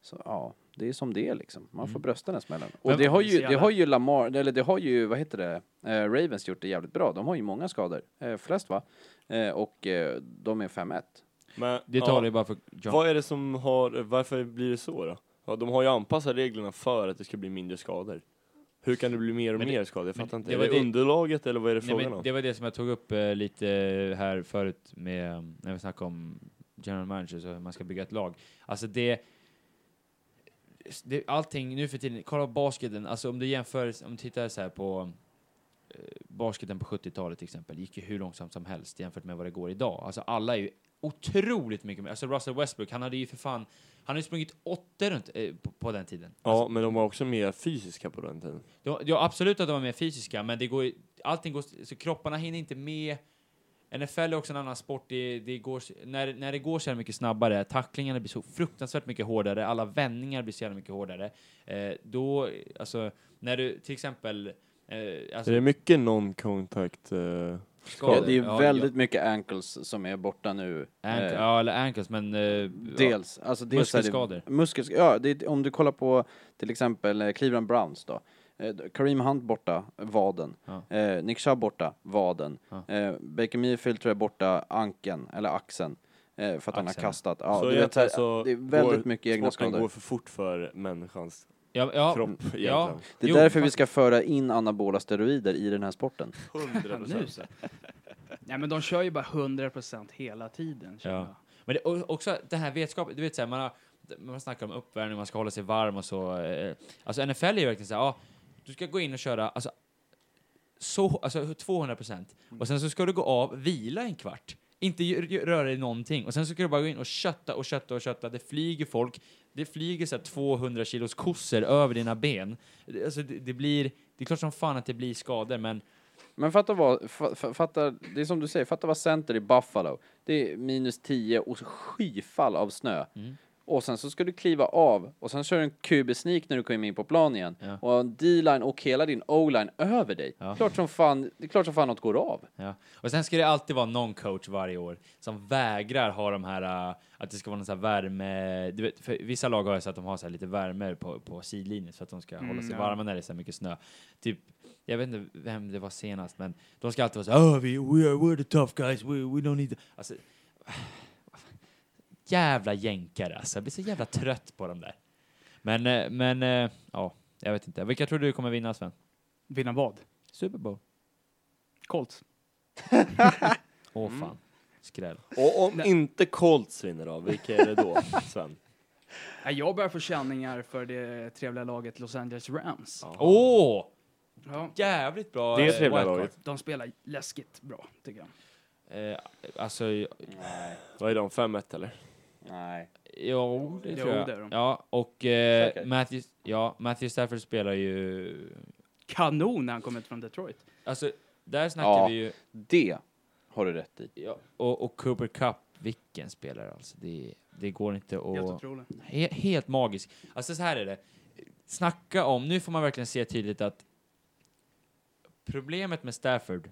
Speaker 3: Så, ja, det är som det är liksom. Man får
Speaker 1: Mm.
Speaker 3: brösta den smällen. Och
Speaker 1: Men-
Speaker 3: det har
Speaker 4: det är
Speaker 3: ju,
Speaker 4: så
Speaker 3: det
Speaker 4: jävla-
Speaker 3: har ju Lamar, eller det har ju, vad heter det, eh, Ravens gjort det jävligt bra. De har ju många skador, eh, flest va? Eh, och eh, de är 5-1.
Speaker 5: Men,
Speaker 1: Det talar ju bara för John.
Speaker 5: Vad är det som har, varför blir det så då? Ja, de har ju anpassat reglerna för att det ska bli mindre skador. Hur kan det bli mer och
Speaker 1: Men det-
Speaker 5: mer skador? Jag
Speaker 1: men
Speaker 5: fattar inte.
Speaker 1: det
Speaker 5: Är
Speaker 1: var
Speaker 5: det,
Speaker 1: det-
Speaker 5: underlaget eller vad är det
Speaker 1: Nej,
Speaker 5: frågan
Speaker 1: men
Speaker 5: om?
Speaker 1: det var det som jag tog upp eh, lite här förut med, eh, när vi snackade om general managers och hur man ska bygga ett lag. Alltså det, det allting nu för tiden, kolla på basketen, alltså om du jämför, om du tittar så här på eh, basketen på 70-talet till exempel, gick ju hur långsamt som helst jämfört med vad det går idag. Alltså alla är ju otroligt mycket mer, alltså Russell Westbrook, han hade ju för fan, han hade ju sprungit åtta runt eh, på, på den tiden.
Speaker 5: Ja, men de var också mer fysiska på den tiden.
Speaker 1: Ja, ja, absolut att de är mer fysiska, men det går, ju- allting går, så kropparna hinner inte med. NFL är också en annan sport. Det, det går, s- när, när det går så här mycket snabbare, tacklingarna blir så fruktansvärt mycket hårdare, alla vändningar blir så jävla mycket hårdare. Eh, då, alltså, när du till exempel... Eh, alltså,
Speaker 5: är det mycket non-contact? eh,
Speaker 1: skador-
Speaker 3: Ja, det är ju
Speaker 1: ja,
Speaker 3: väldigt mycket ankles som är borta nu.
Speaker 1: Ja, ankle,
Speaker 3: Eh,
Speaker 1: ja, eller ankles, men... Eh, ja,
Speaker 3: Dels, alltså dels är det-
Speaker 1: Muskelskador.
Speaker 3: Muskels, ja, det, är- om du kollar på till exempel eh, Cleveland Browns då. Eh, Kareem Hunt borta, vaden.
Speaker 1: Ja.
Speaker 3: Eh, Nick Chubb borta, vaden.
Speaker 1: Ja.
Speaker 3: Eh, Baker Mayfield tror jag är borta, anken, eller axeln. Eh, för att han har
Speaker 1: Axeln.
Speaker 3: kastat. Ja,
Speaker 5: så
Speaker 3: du vet, så här,
Speaker 5: egentligen så
Speaker 3: det är väldigt
Speaker 5: går,
Speaker 3: mycket egna
Speaker 5: sporten
Speaker 3: skador.
Speaker 5: går för fort för människans
Speaker 1: ja, mm, ja,
Speaker 5: kropp egentligen.
Speaker 3: det är
Speaker 1: jo,
Speaker 3: därför vi
Speaker 1: faktiskt.
Speaker 3: ska föra in anabola steroider i den här sporten.
Speaker 5: 100%.
Speaker 4: Nej, men de kör ju bara 100 procent hela tiden. känner
Speaker 1: Ja. Men det, och också den här vetskapen, du vet såhär, man, har, man snackar om uppvärmning, man ska hålla sig varm och så. Eh, alltså NFL är ju verkligen såhär, ja, du ska gå in och köra, alltså, så, alltså 200 procent. Och sen så ska du gå av, vila en kvart. Inte ju- ju- röra dig någonting. Och sen så ska du bara gå in och kötta och kötta och kötta. Det flyger folk. Det flyger så här 200 kilos kossor över dina ben. Det- Alltså det, det blir, det är klart som fan att det blir skador, men
Speaker 3: Men fatta vad, fa- fa- fatta, det är som du säger, fatta vad center i Buffalo. Det är minus 10 och skyfall av snö.
Speaker 1: Mm.
Speaker 3: Och sen så ska du kliva av och sen kör du en QB-sneak när du kommer in på plan igen.
Speaker 1: Ja.
Speaker 3: Och en D-line och hela din O-line över dig.
Speaker 1: Ja.
Speaker 3: Klart som fan, det är klart som fan något går av.
Speaker 1: Ja. Och sen ska det alltid vara någon coach varje år som vägrar ha de här, äh, att det ska vara någon sån här värme, du vet, för vissa lag har ju så att de har så här lite värme på, på sidlinjen så att de ska
Speaker 4: Mm,
Speaker 1: hålla sig
Speaker 4: ja.
Speaker 1: varma när det är så här mycket snö. Typ, jag vet inte vem det var senast, men de ska alltid vara så här, oh, we, we are, we're the tough guys, we, we don't need... Alltså, jävla jänkare alltså, jag blir så jävla trött på dem där. Men, eh, men, eh, ja, jag vet inte. Vilka tror du kommer vinna Sven?
Speaker 4: jag. Vinna vad?
Speaker 1: Super Bowl.
Speaker 4: Colts.
Speaker 1: Åh
Speaker 4: Mm.
Speaker 1: fan, skräll.
Speaker 5: Och om inte Colts vinner då, vilka är det då, Sven?
Speaker 4: Nej, Jag börjar få känningar för det trevliga laget Los Angeles Rams.
Speaker 5: Ja.
Speaker 1: Åh!
Speaker 4: Ja.
Speaker 1: Jävligt bra.
Speaker 5: Det är
Speaker 1: eh,
Speaker 5: trevliga
Speaker 1: wildcard.
Speaker 5: laget.
Speaker 4: De spelar läskigt bra, tycker jag.
Speaker 1: Eh, alltså,
Speaker 5: Vad är de, 5-1 eller?
Speaker 3: Nej.
Speaker 1: jo, det
Speaker 4: Jo,
Speaker 1: tror jag.
Speaker 4: det är de.
Speaker 1: Ja, och eh,
Speaker 3: Säkert.
Speaker 1: Matthew, ja, Matthew Stafford spelar ju...
Speaker 4: Kanon när han kom ut från Detroit.
Speaker 1: Alltså, där snackar
Speaker 3: Ja.
Speaker 1: vi ju...
Speaker 3: Det har du rätt i.
Speaker 1: Ja, och, och Cooper Cup, vilken spelare alltså. Det, det går inte
Speaker 4: Helt
Speaker 1: att...
Speaker 4: otroligt.
Speaker 1: He, helt magisk. Alltså så här är det. Snacka om, nu får man verkligen se tydligt att problemet med Stafford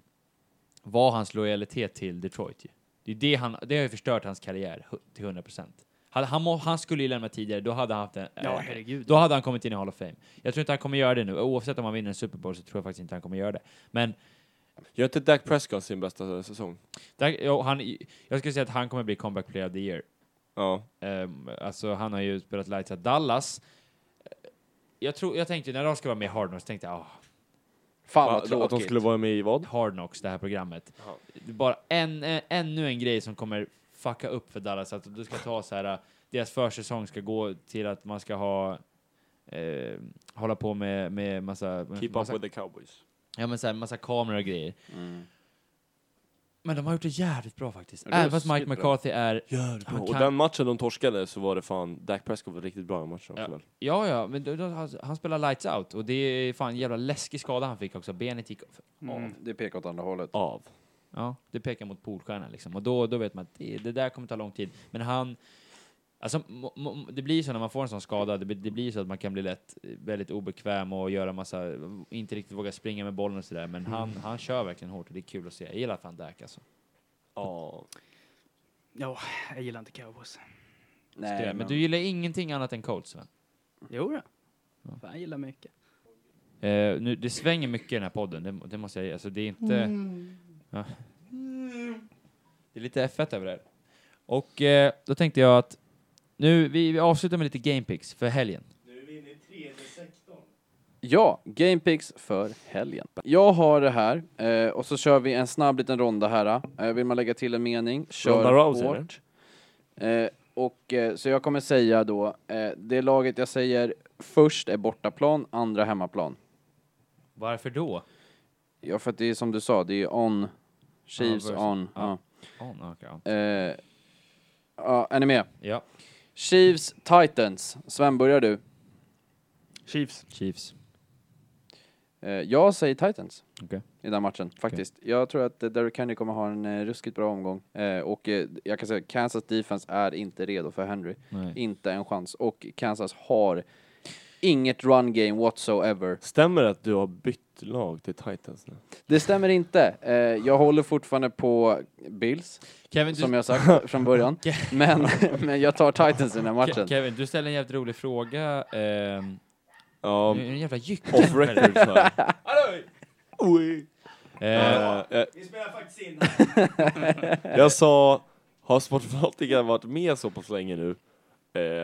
Speaker 1: var hans lojalitet till Detroit ju. Det, är det, han, det har ju förstört hans karriär hu- till 100 procent. Han, må- han skulle ju lämna tidigare, då hade han haft en,
Speaker 4: Ja,
Speaker 1: eh,
Speaker 4: herregud.
Speaker 1: då hade han kommit in i Hall of Fame. Jag tror inte han kommer göra det nu. Oavsett om han vinner en Super Bowl så tror jag faktiskt inte han kommer göra det. Men
Speaker 5: Gör inte Dak Prescott sin bästa säsong?
Speaker 1: där, jo, han, jag skulle säga att han kommer bli comeback player of the year.
Speaker 5: Ja.
Speaker 1: Um, alltså han har ju spelat Lights Out Dallas. Eh, Jag, tror, jag tänkte när de ska vara med i Hard Knocks, tänkte jag ah,
Speaker 3: Fan vad
Speaker 5: Att- Att de
Speaker 3: tråkigt.
Speaker 5: skulle vara med i vad?
Speaker 1: Hard Knocks, det här programmet.
Speaker 5: Jaha.
Speaker 1: Det är bara en, eh, ännu en grej som kommer fucka upp för Dallas, att du ska ta så här, eh, deras försäsong ska gå till att man ska ha eh, hålla på med, med massa,
Speaker 5: Keep up
Speaker 1: massa,
Speaker 5: with the cowboys.
Speaker 1: ja, men så här, massa kameror och grejer.
Speaker 3: Mm.
Speaker 1: Men de har gjort det jävligt bra faktiskt.
Speaker 3: Ruskigt
Speaker 1: Även fast Mike
Speaker 3: bra.
Speaker 1: McCarthy är... han
Speaker 5: Och
Speaker 1: kan-
Speaker 5: den matchen de torskade så var det fan, Dak Prescott var riktigt bra i matchen också väl?
Speaker 1: Ja, ja, men då- då- han, han spelar lights out och det är fan en jävla läskig skada han fick också. Benet gick av.
Speaker 3: Ja, det pekar åt andra hållet.
Speaker 5: Av.
Speaker 1: Ja, det pekar mot Polstjärnan liksom. Och då, då vet man att det, det där kommer ta lång tid. Men han... Alltså, må- må- det blir så när man får en sån skada, det, blir- det blir så att man kan bli lätt eh, väldigt obekväm och göra massa, inte riktigt våga springa med bollen och sådär. Men han, han kör verkligen hårt och det är kul att se. Jag gillar fan Dak alltså.
Speaker 5: Ja.
Speaker 4: Ja, jag gillar inte cowboys.
Speaker 3: Nej,
Speaker 1: men du gillar ingenting annat än Colts, Sven?
Speaker 4: Jo då. Fan, jag gillar mycket.
Speaker 1: Eh, nu, det svänger mycket i den här podden, det, det måste jag ge. Alltså, det är inte... Ja. Det är lite F1 över det här. Och eh, då tänkte jag att nu, vi, vi avslutar med lite game picks för helgen.
Speaker 2: Nu är vi inne i tredje sektorn.
Speaker 3: Ja, GamePix för helgen. Jag har det här eh, och så kör vi en snabb liten ronda här. Eh, vill man lägga till en mening, kör
Speaker 5: Ronda Rousey,
Speaker 3: hårt. Eh, och, eh, så jag kommer säga då, eh, det laget jag säger först är bortaplan, andra hemmaplan.
Speaker 1: Varför då?
Speaker 3: Ja, för att det är som du sa, det är on, Chiefs
Speaker 1: versus-
Speaker 3: on.
Speaker 1: ja.
Speaker 3: Ja.
Speaker 1: Oh, okay. ja.
Speaker 3: Eh, ja, är ni med?
Speaker 1: ja,
Speaker 3: Chiefs, Titans. Sven, börjar du?
Speaker 4: Chiefs.
Speaker 1: Chiefs.
Speaker 3: Eh, jag säger Titans.
Speaker 1: Okej.
Speaker 3: I den matchen, faktiskt. Jag tror att eh, Derrick Henry kommer ha en eh, ruskigt bra omgång. Eh, och eh, jag kan säga, Kansas defense är inte redo för Henry.
Speaker 1: Nej.
Speaker 3: Inte en chans. Och Kansas har inget run game whatsoever.
Speaker 5: Stämmer det att du har bytt lag till Titans nu?
Speaker 3: Det stämmer inte. Eh, jag håller fortfarande på Bills,
Speaker 1: Kevin, du,
Speaker 3: som jag sagt från början. men, men jag tar Titans i den här
Speaker 1: Ke-
Speaker 3: matchen.
Speaker 1: Kevin, du ställer en jävligt rolig fråga. ehm,
Speaker 5: Ja,
Speaker 1: nu är det en jävla jycke.
Speaker 5: off record så här.
Speaker 1: Eh,
Speaker 5: Eh, eh,
Speaker 2: Vi spelar faktiskt in
Speaker 5: jag sa, har Sportfanatica varit med så pass länge nu?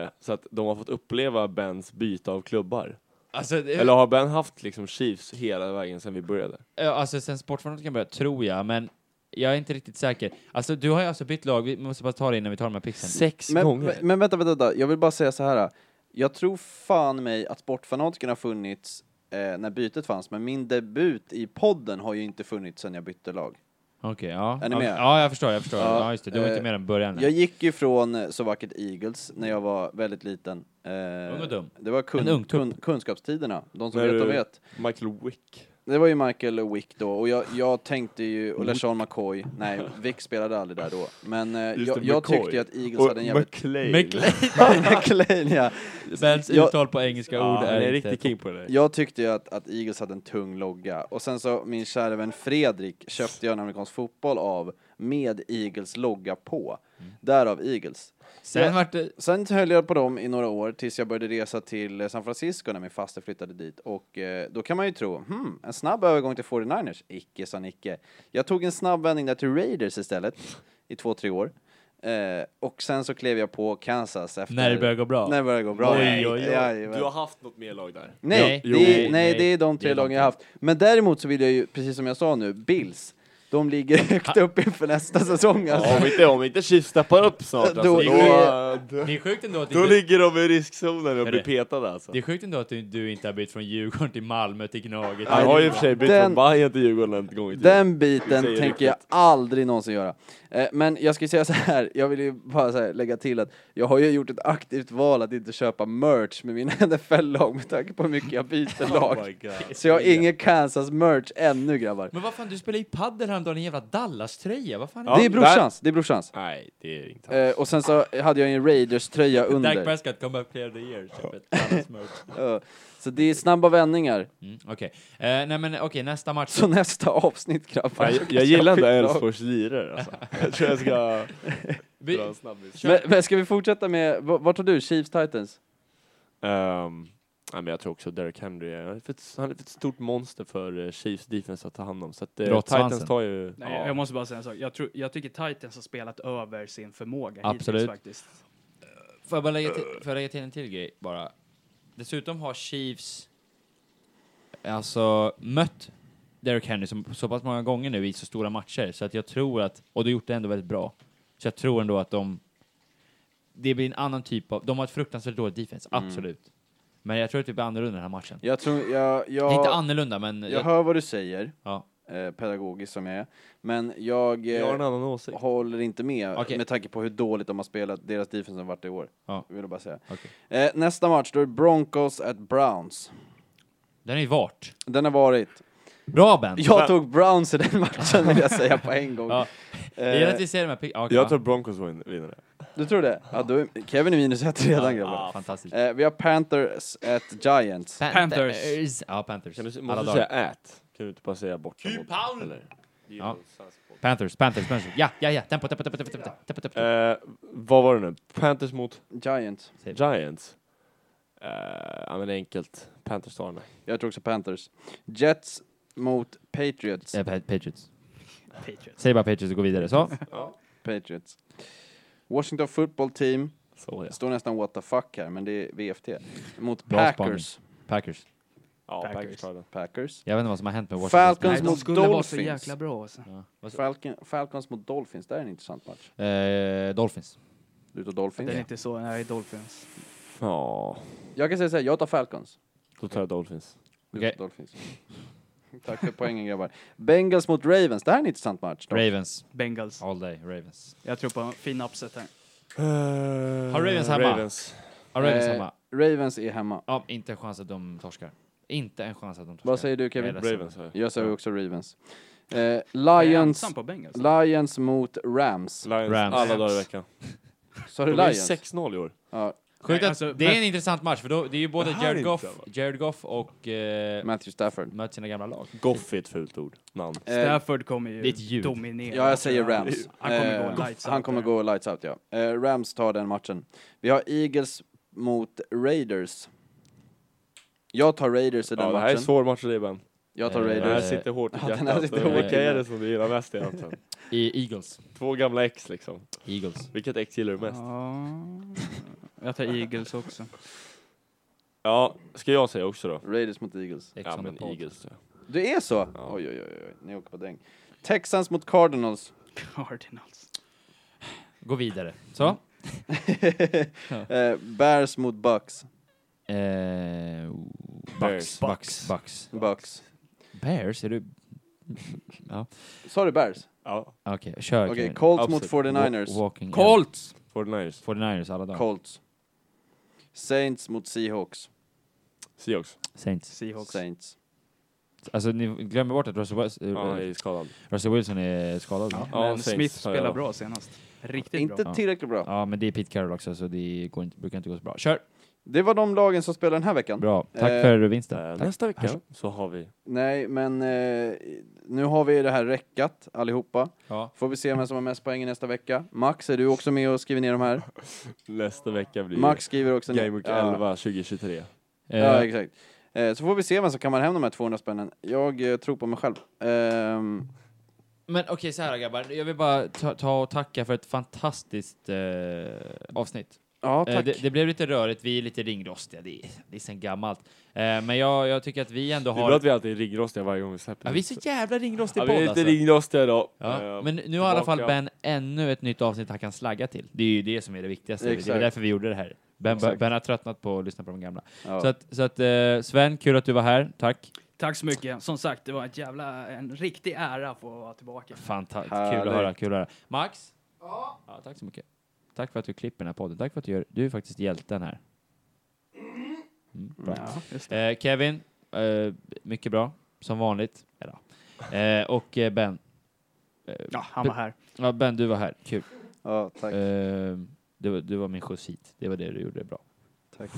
Speaker 5: Eh, så att de har fått uppleva Bens byte av klubbar.
Speaker 1: alltså,
Speaker 3: Eh.
Speaker 1: det-
Speaker 5: Eller har Ben haft liksom Chiefs hela vägen sedan vi började?
Speaker 1: Ja, alltså sen Sportfanatiken började, tror jag, men jag är inte riktigt säker. Alltså du har ju alltså bytt lag, vi måste bara ta det innan vi tar de här picksen.
Speaker 5: Sex
Speaker 3: Men,
Speaker 5: gånger?
Speaker 3: men vänta, vänta, vänta, jag vill bara säga så här. Jag tror fan mig att Sportfanatikerna har funnits eh, när bytet fanns, men min debut i podden har ju inte funnits sen jag bytte lag.
Speaker 1: Okej, ja.
Speaker 3: Är ni med?
Speaker 1: Ja, jag förstår, jag förstår. Ja,
Speaker 3: Ja,
Speaker 1: just det. Du var inte
Speaker 3: eh,
Speaker 1: med den början.
Speaker 3: Jag gick ju från eh, så vackert Eagles när jag var väldigt liten. Eh,
Speaker 1: Ung och dum.
Speaker 3: det var kun,
Speaker 1: En ung tupp.
Speaker 3: kun, kunskapstiderna, de som
Speaker 5: När
Speaker 3: vet, de
Speaker 5: du-
Speaker 3: vet.
Speaker 5: Michael Wick.
Speaker 3: Det var ju Michael Wick då, och jag, jag tänkte ju,
Speaker 5: Mm.
Speaker 3: och LaShawn McCoy, nej, Wick spelade aldrig där då. Men eh,
Speaker 5: Just
Speaker 3: jag,
Speaker 5: det,
Speaker 3: jag
Speaker 5: McCoy.
Speaker 3: tyckte ju att Eagles
Speaker 5: Och
Speaker 3: hade en jävligt...
Speaker 5: McLean.
Speaker 3: McLean, ja.
Speaker 1: Bens
Speaker 3: jag-
Speaker 1: uttal på engelska
Speaker 5: Ja,
Speaker 1: ord
Speaker 5: han
Speaker 1: är,
Speaker 5: är
Speaker 1: inte...
Speaker 5: riktigt king på det där.
Speaker 3: Jag tyckte ju att, att Eagles hade en tung logga. Och sen så, min kära vän Fredrik köpte jag en amerikansk fotboll av med Eagles logga på. Därav Eagles.
Speaker 1: Sen
Speaker 3: Ja.
Speaker 1: vart det...
Speaker 3: Sen höll jag på dem i några år tills jag började resa till eh, San Francisco när min faster flyttade dit. Och eh, då kan man ju tro, hmm, en snabb övergång till 49ers. Icke sa Nicke. Jag tog en snabb vändning där till Raiders istället i två, tre år. Eh, och sen så klev jag på Kansas efter...
Speaker 1: När det börjar gå bra.
Speaker 3: När det började gå bra.
Speaker 5: Oj, oj, oj.
Speaker 3: Jajamän.
Speaker 5: Du har haft något mer lag där.
Speaker 3: Nej,
Speaker 1: Jo,
Speaker 3: det, är,
Speaker 1: jo.
Speaker 3: nej,
Speaker 1: Nej,
Speaker 3: det är de
Speaker 1: det
Speaker 3: tre
Speaker 1: är de
Speaker 3: lagen jag har haft. Men däremot så vill jag ju, precis som jag sa nu, Bills. De ligger högt upp inför nästa säsong
Speaker 5: Ja,
Speaker 3: alltså.
Speaker 5: om inte, om inte Chiefs steppar upp snart alltså,
Speaker 3: Då-
Speaker 5: då,
Speaker 3: då-
Speaker 5: då,
Speaker 1: Det är sjukt ändå att
Speaker 5: då
Speaker 1: inte,
Speaker 5: ligger de i riskzonen och
Speaker 1: Är det?
Speaker 5: blir petade alltså.
Speaker 1: det är sjukt ändå att du, du inte har bytt från Djurgården till Malmö till Gnaget.
Speaker 5: Han har ju i och för sig bytt
Speaker 3: Den-
Speaker 5: från Bayern till Djurgården en gång i tiden.
Speaker 3: Den biten
Speaker 5: Vi säger
Speaker 3: tänker jag aldrig någonsin göra. Eh, men jag ska ju säga så här, jag vill ju bara så här lägga till att jag har ju gjort ett aktivt val att inte köpa merch med mina NFL-lag med tanke på hur mycket jag byter
Speaker 5: Oh my
Speaker 3: lag.
Speaker 5: god.
Speaker 3: Så jag har ingen Kansas-merch ännu grabbar.
Speaker 1: Men vad fan, du spelade i padel häromdagen i en jävla Dallas-tröja. Vad fan är
Speaker 5: Ja,
Speaker 3: det är brorsans, det är brorsans.
Speaker 5: Nej, det är inte
Speaker 3: Eh, och sen så hade jag ju en Raiders-tröja
Speaker 1: det? Dak
Speaker 3: under.
Speaker 1: Prescott, come up clear the year. Köp ett Dallas-merch.
Speaker 3: Eh, så det är snabba vändningar.
Speaker 1: Mm, Okej, Eh, nej men okej, nästa match.
Speaker 3: Så nästa avsnitt grabbar.
Speaker 5: Jag, jag gillar inte Elfsborgs lirare alltså. Jag tror jag ska
Speaker 1: Vi,
Speaker 5: dra en snabbis.
Speaker 1: kör,
Speaker 3: Men, men ska vi fortsätta med, v- vad tar du? Chiefs Titans?
Speaker 5: Ehm, nej, men jag tror också Derek Henry, är- han är för ett, han är för ett stort monster för eh, Chiefs defense att ta hand om. Så att eh,
Speaker 1: Brott
Speaker 5: Titans
Speaker 1: svansen.
Speaker 5: tar ju...
Speaker 4: Nej,
Speaker 5: ja.
Speaker 4: Jag måste bara säga en sak. Jag, tror, jag tycker Titans har spelat över sin förmåga
Speaker 1: Absolut.
Speaker 4: hittills faktiskt.
Speaker 1: får, jag bara lägga till,
Speaker 5: Äh.
Speaker 1: får jag lägga till en till grej bara? Dessutom har Chiefs alltså mött Derek Henry som, så pass många gånger nu i så stora matcher så att jag tror att, och du gjort det ändå väldigt bra, så jag tror ändå att de, det blir en annan typ av, de har ett fruktansvärt dåligt defense,
Speaker 5: Mm.
Speaker 1: absolut. Men jag tror att det blir annorlunda den här matchen.
Speaker 3: Jag tror, jag,
Speaker 1: Inte
Speaker 3: jag,
Speaker 1: annorlunda, men...
Speaker 3: jag hör vad du säger.
Speaker 1: ja.
Speaker 3: eh, pedagogisk som jag är. Men jag, eh,
Speaker 5: Jag har en annan åsikt.
Speaker 3: håller inte med
Speaker 1: Okej.
Speaker 3: med tanke på hur dåligt de har spelat, deras defense har varit i år.
Speaker 1: Ja.
Speaker 3: Vill jag bara säga.
Speaker 1: Okej.
Speaker 3: Eh, nästa match, då är det Broncos at Browns.
Speaker 1: Den är ju vart.
Speaker 3: Den har varit.
Speaker 1: Bra Ben!
Speaker 3: Jag tog Browns i den matchen vill jag säga på en gång.
Speaker 1: Ja. Jag gillar att vi ser de här pick- ja,
Speaker 5: Eh, Jag tror Broncos vin- vinner det.
Speaker 3: Du tror det? Ja, då är Kevin är minus ett
Speaker 1: ja.
Speaker 3: redan grabbar.
Speaker 1: ja, Fantastiskt.
Speaker 3: Eh, vi har Panthers at Giants.
Speaker 1: Panthers! Ja, Panthers.
Speaker 5: Kan du, måste
Speaker 1: Alla
Speaker 5: du säga
Speaker 1: dagar.
Speaker 5: ät? Kan du inte bara säga borta mot? Eller?
Speaker 1: Ja. Panthers, Panthers, Panthers. Ja, ja, ja. Tempo, tempo, tempo, tempo, tempo, tempo, tempo.
Speaker 5: Eh, vad var det nu? Panthers mot
Speaker 3: Giants.
Speaker 5: Giants? Eh, ja men det är enkelt. Panthers tar den.
Speaker 3: Jag tror också Panthers. Jets mot Patriots.
Speaker 1: Eh, Pa- Patriots.
Speaker 2: Patriots.
Speaker 1: Säg bara Patriots och gå vidare. Så.
Speaker 3: Patriots. Washington football team.
Speaker 5: Så
Speaker 3: Det står nästan what the fuck här, men det är VFT. Mot
Speaker 1: Bra
Speaker 3: Packers.
Speaker 1: Packers.
Speaker 5: ja.
Speaker 2: Packers.
Speaker 5: Ja, Packers tar den.
Speaker 3: Packers.
Speaker 1: Jag vet inte vad som har hänt med Washington.
Speaker 3: Falcons
Speaker 4: Nej, de
Speaker 3: mot
Speaker 4: skulle vara så
Speaker 3: Dolphins.
Speaker 4: jäkla bra alltså.
Speaker 1: Ja. Vad sa-
Speaker 3: Falcon, Falcons mot Dolphins, det är en intressant match.
Speaker 1: Eh, Dolphins.
Speaker 3: Du tar
Speaker 4: Den är
Speaker 3: Dolphins.
Speaker 4: inte så, nej, Dolphins.
Speaker 5: Ja,
Speaker 3: Jag kan säga såhär, jag tar Falcons.
Speaker 5: då tar jag Dolphins.
Speaker 3: Du
Speaker 1: Okej.
Speaker 3: tar Dolphins. Tack för poängen grabbar. Bengals mot Ravens, det här är en intressant match. Då.
Speaker 1: Ravens.
Speaker 4: Bengals.
Speaker 1: All day, Ravens.
Speaker 4: Jag tror på en fin upset här.
Speaker 1: Har Ravens hemma?
Speaker 5: Eh, Ravens.
Speaker 1: Ja, Ravens
Speaker 3: Eh,
Speaker 1: hemma.
Speaker 3: Ravens är hemma.
Speaker 1: Ja, inte en chans att de torskar. Inte en chans att de torskar.
Speaker 3: Vad säger du Kevin?
Speaker 1: Jag är ledsen.
Speaker 5: Ravens har jag.
Speaker 3: Jag säger också Ravens. Eh,
Speaker 4: Jag är
Speaker 3: Lions,
Speaker 4: ensam på Bengals.
Speaker 3: Lions mot Rams.
Speaker 5: Lions
Speaker 1: Rams.
Speaker 5: alla dagar i veckan.
Speaker 3: Sa
Speaker 5: De
Speaker 3: du
Speaker 5: är
Speaker 3: Lions?
Speaker 5: 6-0 i år.
Speaker 3: Ja,
Speaker 1: Sjukt
Speaker 4: Nej,
Speaker 1: att
Speaker 4: alltså,
Speaker 1: det är
Speaker 4: men-
Speaker 1: en intressant match, för då, det är ju både
Speaker 5: Det här är
Speaker 1: Jared
Speaker 5: inte
Speaker 1: Goff,
Speaker 5: bra.
Speaker 1: Jared Goff och eh,
Speaker 3: Matthew Stafford.
Speaker 1: möter sina gamla lag.
Speaker 5: Goff är ett fult ord. Namn.
Speaker 3: Eh,
Speaker 4: Stafford kommer
Speaker 1: det är ett
Speaker 4: ju
Speaker 1: ljud.
Speaker 4: dominera.
Speaker 3: Ja, jag säger Rams.
Speaker 4: Han kommer
Speaker 3: Eh,
Speaker 4: gå lights
Speaker 3: han
Speaker 4: out
Speaker 3: kommer
Speaker 4: där.
Speaker 3: gå lights out, ja. Eh, Rams tar den matchen. Vi har Eagles mot Raiders. Jag tar Raiders i den
Speaker 5: Ja, det här är
Speaker 3: matchen.
Speaker 5: en svår match Ribban.
Speaker 3: Jag tar
Speaker 1: Eh,
Speaker 5: Den här
Speaker 3: Raiders.
Speaker 1: Eh,
Speaker 5: sitter hårt i
Speaker 3: ja, den här
Speaker 5: hjärtat.
Speaker 3: sitter
Speaker 5: Men
Speaker 1: hårt i
Speaker 5: Vilka är det som du gillar mest egentligen?
Speaker 1: I Eagles.
Speaker 5: Två gamla ex liksom.
Speaker 1: Eagles.
Speaker 5: Vilket ex gillar du mest?
Speaker 4: Ja, jag tar Eagles också.
Speaker 5: Ja, ska jag säga också då?
Speaker 3: Raiders mot Eagles.
Speaker 1: Ex
Speaker 5: Ja
Speaker 1: on the
Speaker 5: men
Speaker 1: pod.
Speaker 5: Eagles tror jag.
Speaker 3: Det är så?
Speaker 5: Ja.
Speaker 3: Oj, oj, oj, oj, ni åker på däng. Texans mot Cardinals.
Speaker 4: Cardinals.
Speaker 1: Gå vidare. Så.
Speaker 3: Eh, Bears mot Bucks.
Speaker 1: Eh, Bucks,
Speaker 5: Bears.
Speaker 1: Bucks, Bucks.
Speaker 3: Bucks.
Speaker 1: Bears? Är du...
Speaker 3: Sa du Bears?
Speaker 5: Ja,
Speaker 1: Okej, kör.
Speaker 3: Okej,
Speaker 1: Kevin.
Speaker 3: Colts mot
Speaker 5: Upset.
Speaker 3: 49ers.
Speaker 1: Wa- walking out.
Speaker 4: Colts!
Speaker 5: 49ers.
Speaker 1: 49ers alla dagar.
Speaker 3: Colts. Saints mot Seahawks.
Speaker 5: Seahawks.
Speaker 1: Saints.
Speaker 4: Seahawks.
Speaker 3: Saints.
Speaker 1: Alltså ni glömmer bort att Russell, Wes- eh,
Speaker 5: Ja, jag är skadad.
Speaker 1: Russell Wilson är skadad. Ja.
Speaker 4: Men
Speaker 5: Ja, Saints
Speaker 4: Smith
Speaker 5: tar jag
Speaker 4: spelar
Speaker 5: då.
Speaker 4: bra senast. Riktigt bra.
Speaker 3: Inte tillräckligt bra.
Speaker 1: ja, men det är Pete Carroll också så det går inte, brukar inte gå så bra. Kör!
Speaker 3: Det var de lagen som spelade den här veckan.
Speaker 1: Bra. Tack
Speaker 3: Eh,
Speaker 1: för vinsten.
Speaker 5: Eh,
Speaker 1: Tack.
Speaker 5: Nästa vecka
Speaker 1: Hörs.
Speaker 5: så har vi...
Speaker 3: Nej, men eh, nu har vi det här räckat allihopa.
Speaker 1: Ja.
Speaker 3: Får vi se vem som har mest poäng i nästa vecka. Max, är du också med och skriver ner de här?
Speaker 5: Nästa vecka blir
Speaker 3: Max skriver också
Speaker 5: Game Week
Speaker 3: Ja.
Speaker 5: 11 2023.
Speaker 1: Eh,
Speaker 3: Ja, exakt. Eh, så får vi se vem som kammar hem de här 200 spännen. Jag eh, tror på mig själv. Ehm,
Speaker 1: Men okej, så här grabbar. Jag vill bara ta, ta och tacka för ett fantastiskt eh, avsnitt.
Speaker 3: ja, tack.
Speaker 1: Eh, det, det blev lite rörigt, vi är lite ringrostiga, det är, det är sen gammalt. Eh, men jag, jag tycker att vi ändå
Speaker 5: Det är bra
Speaker 1: har...
Speaker 5: att vi alltid är ringrostiga varje gång vi släpper.
Speaker 1: Ja, vi är så jävla ringrostiga
Speaker 5: ja,
Speaker 1: podd
Speaker 5: vi är
Speaker 1: alltså.
Speaker 5: lite ringrostiga idag.
Speaker 1: Ja.
Speaker 5: Eh,
Speaker 1: Men nu har i alla fall
Speaker 5: tillbaka.
Speaker 1: Ben ännu ett nytt avsnitt han kan slagga till. Det är ju det som är det viktigaste. Det
Speaker 3: Exakt.
Speaker 1: är därför vi gjorde det här. Ben,
Speaker 3: Exakt.
Speaker 1: ben har tröttnat på att lyssna på de gamla.
Speaker 3: ja.
Speaker 1: Så att, så att eh, Sven, kul att du var här. Tack.
Speaker 4: Tack så mycket. Som sagt, det var ett jävla, en riktig ära att få vara tillbaka.
Speaker 1: Fantastiskt. Kul
Speaker 3: Härligt.
Speaker 1: att höra. Kul att höra. Max? Ja? Tack så mycket. Tack för att du klipper den här podden. Tack för att du gör... Du är faktiskt hjälten här. Mm, bra.
Speaker 4: just
Speaker 1: Eh, Kevin, eh, mycket bra. Som vanligt. Eller, ja. eh, och eh, Ben. Eh,
Speaker 4: Ja, han var här.
Speaker 1: Ja, Ben, du var här. Kul.
Speaker 3: ja, tack.
Speaker 1: Eh, du, var- du var min skjuts hit. Det var det du gjorde bra.
Speaker 3: tack.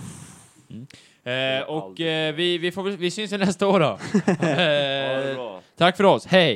Speaker 1: Eh, och eh, vi, vi, får, väl- vi syns ju nästa år då.
Speaker 5: Ja, det är
Speaker 1: eh,
Speaker 5: bra.
Speaker 1: tack för oss. Hej!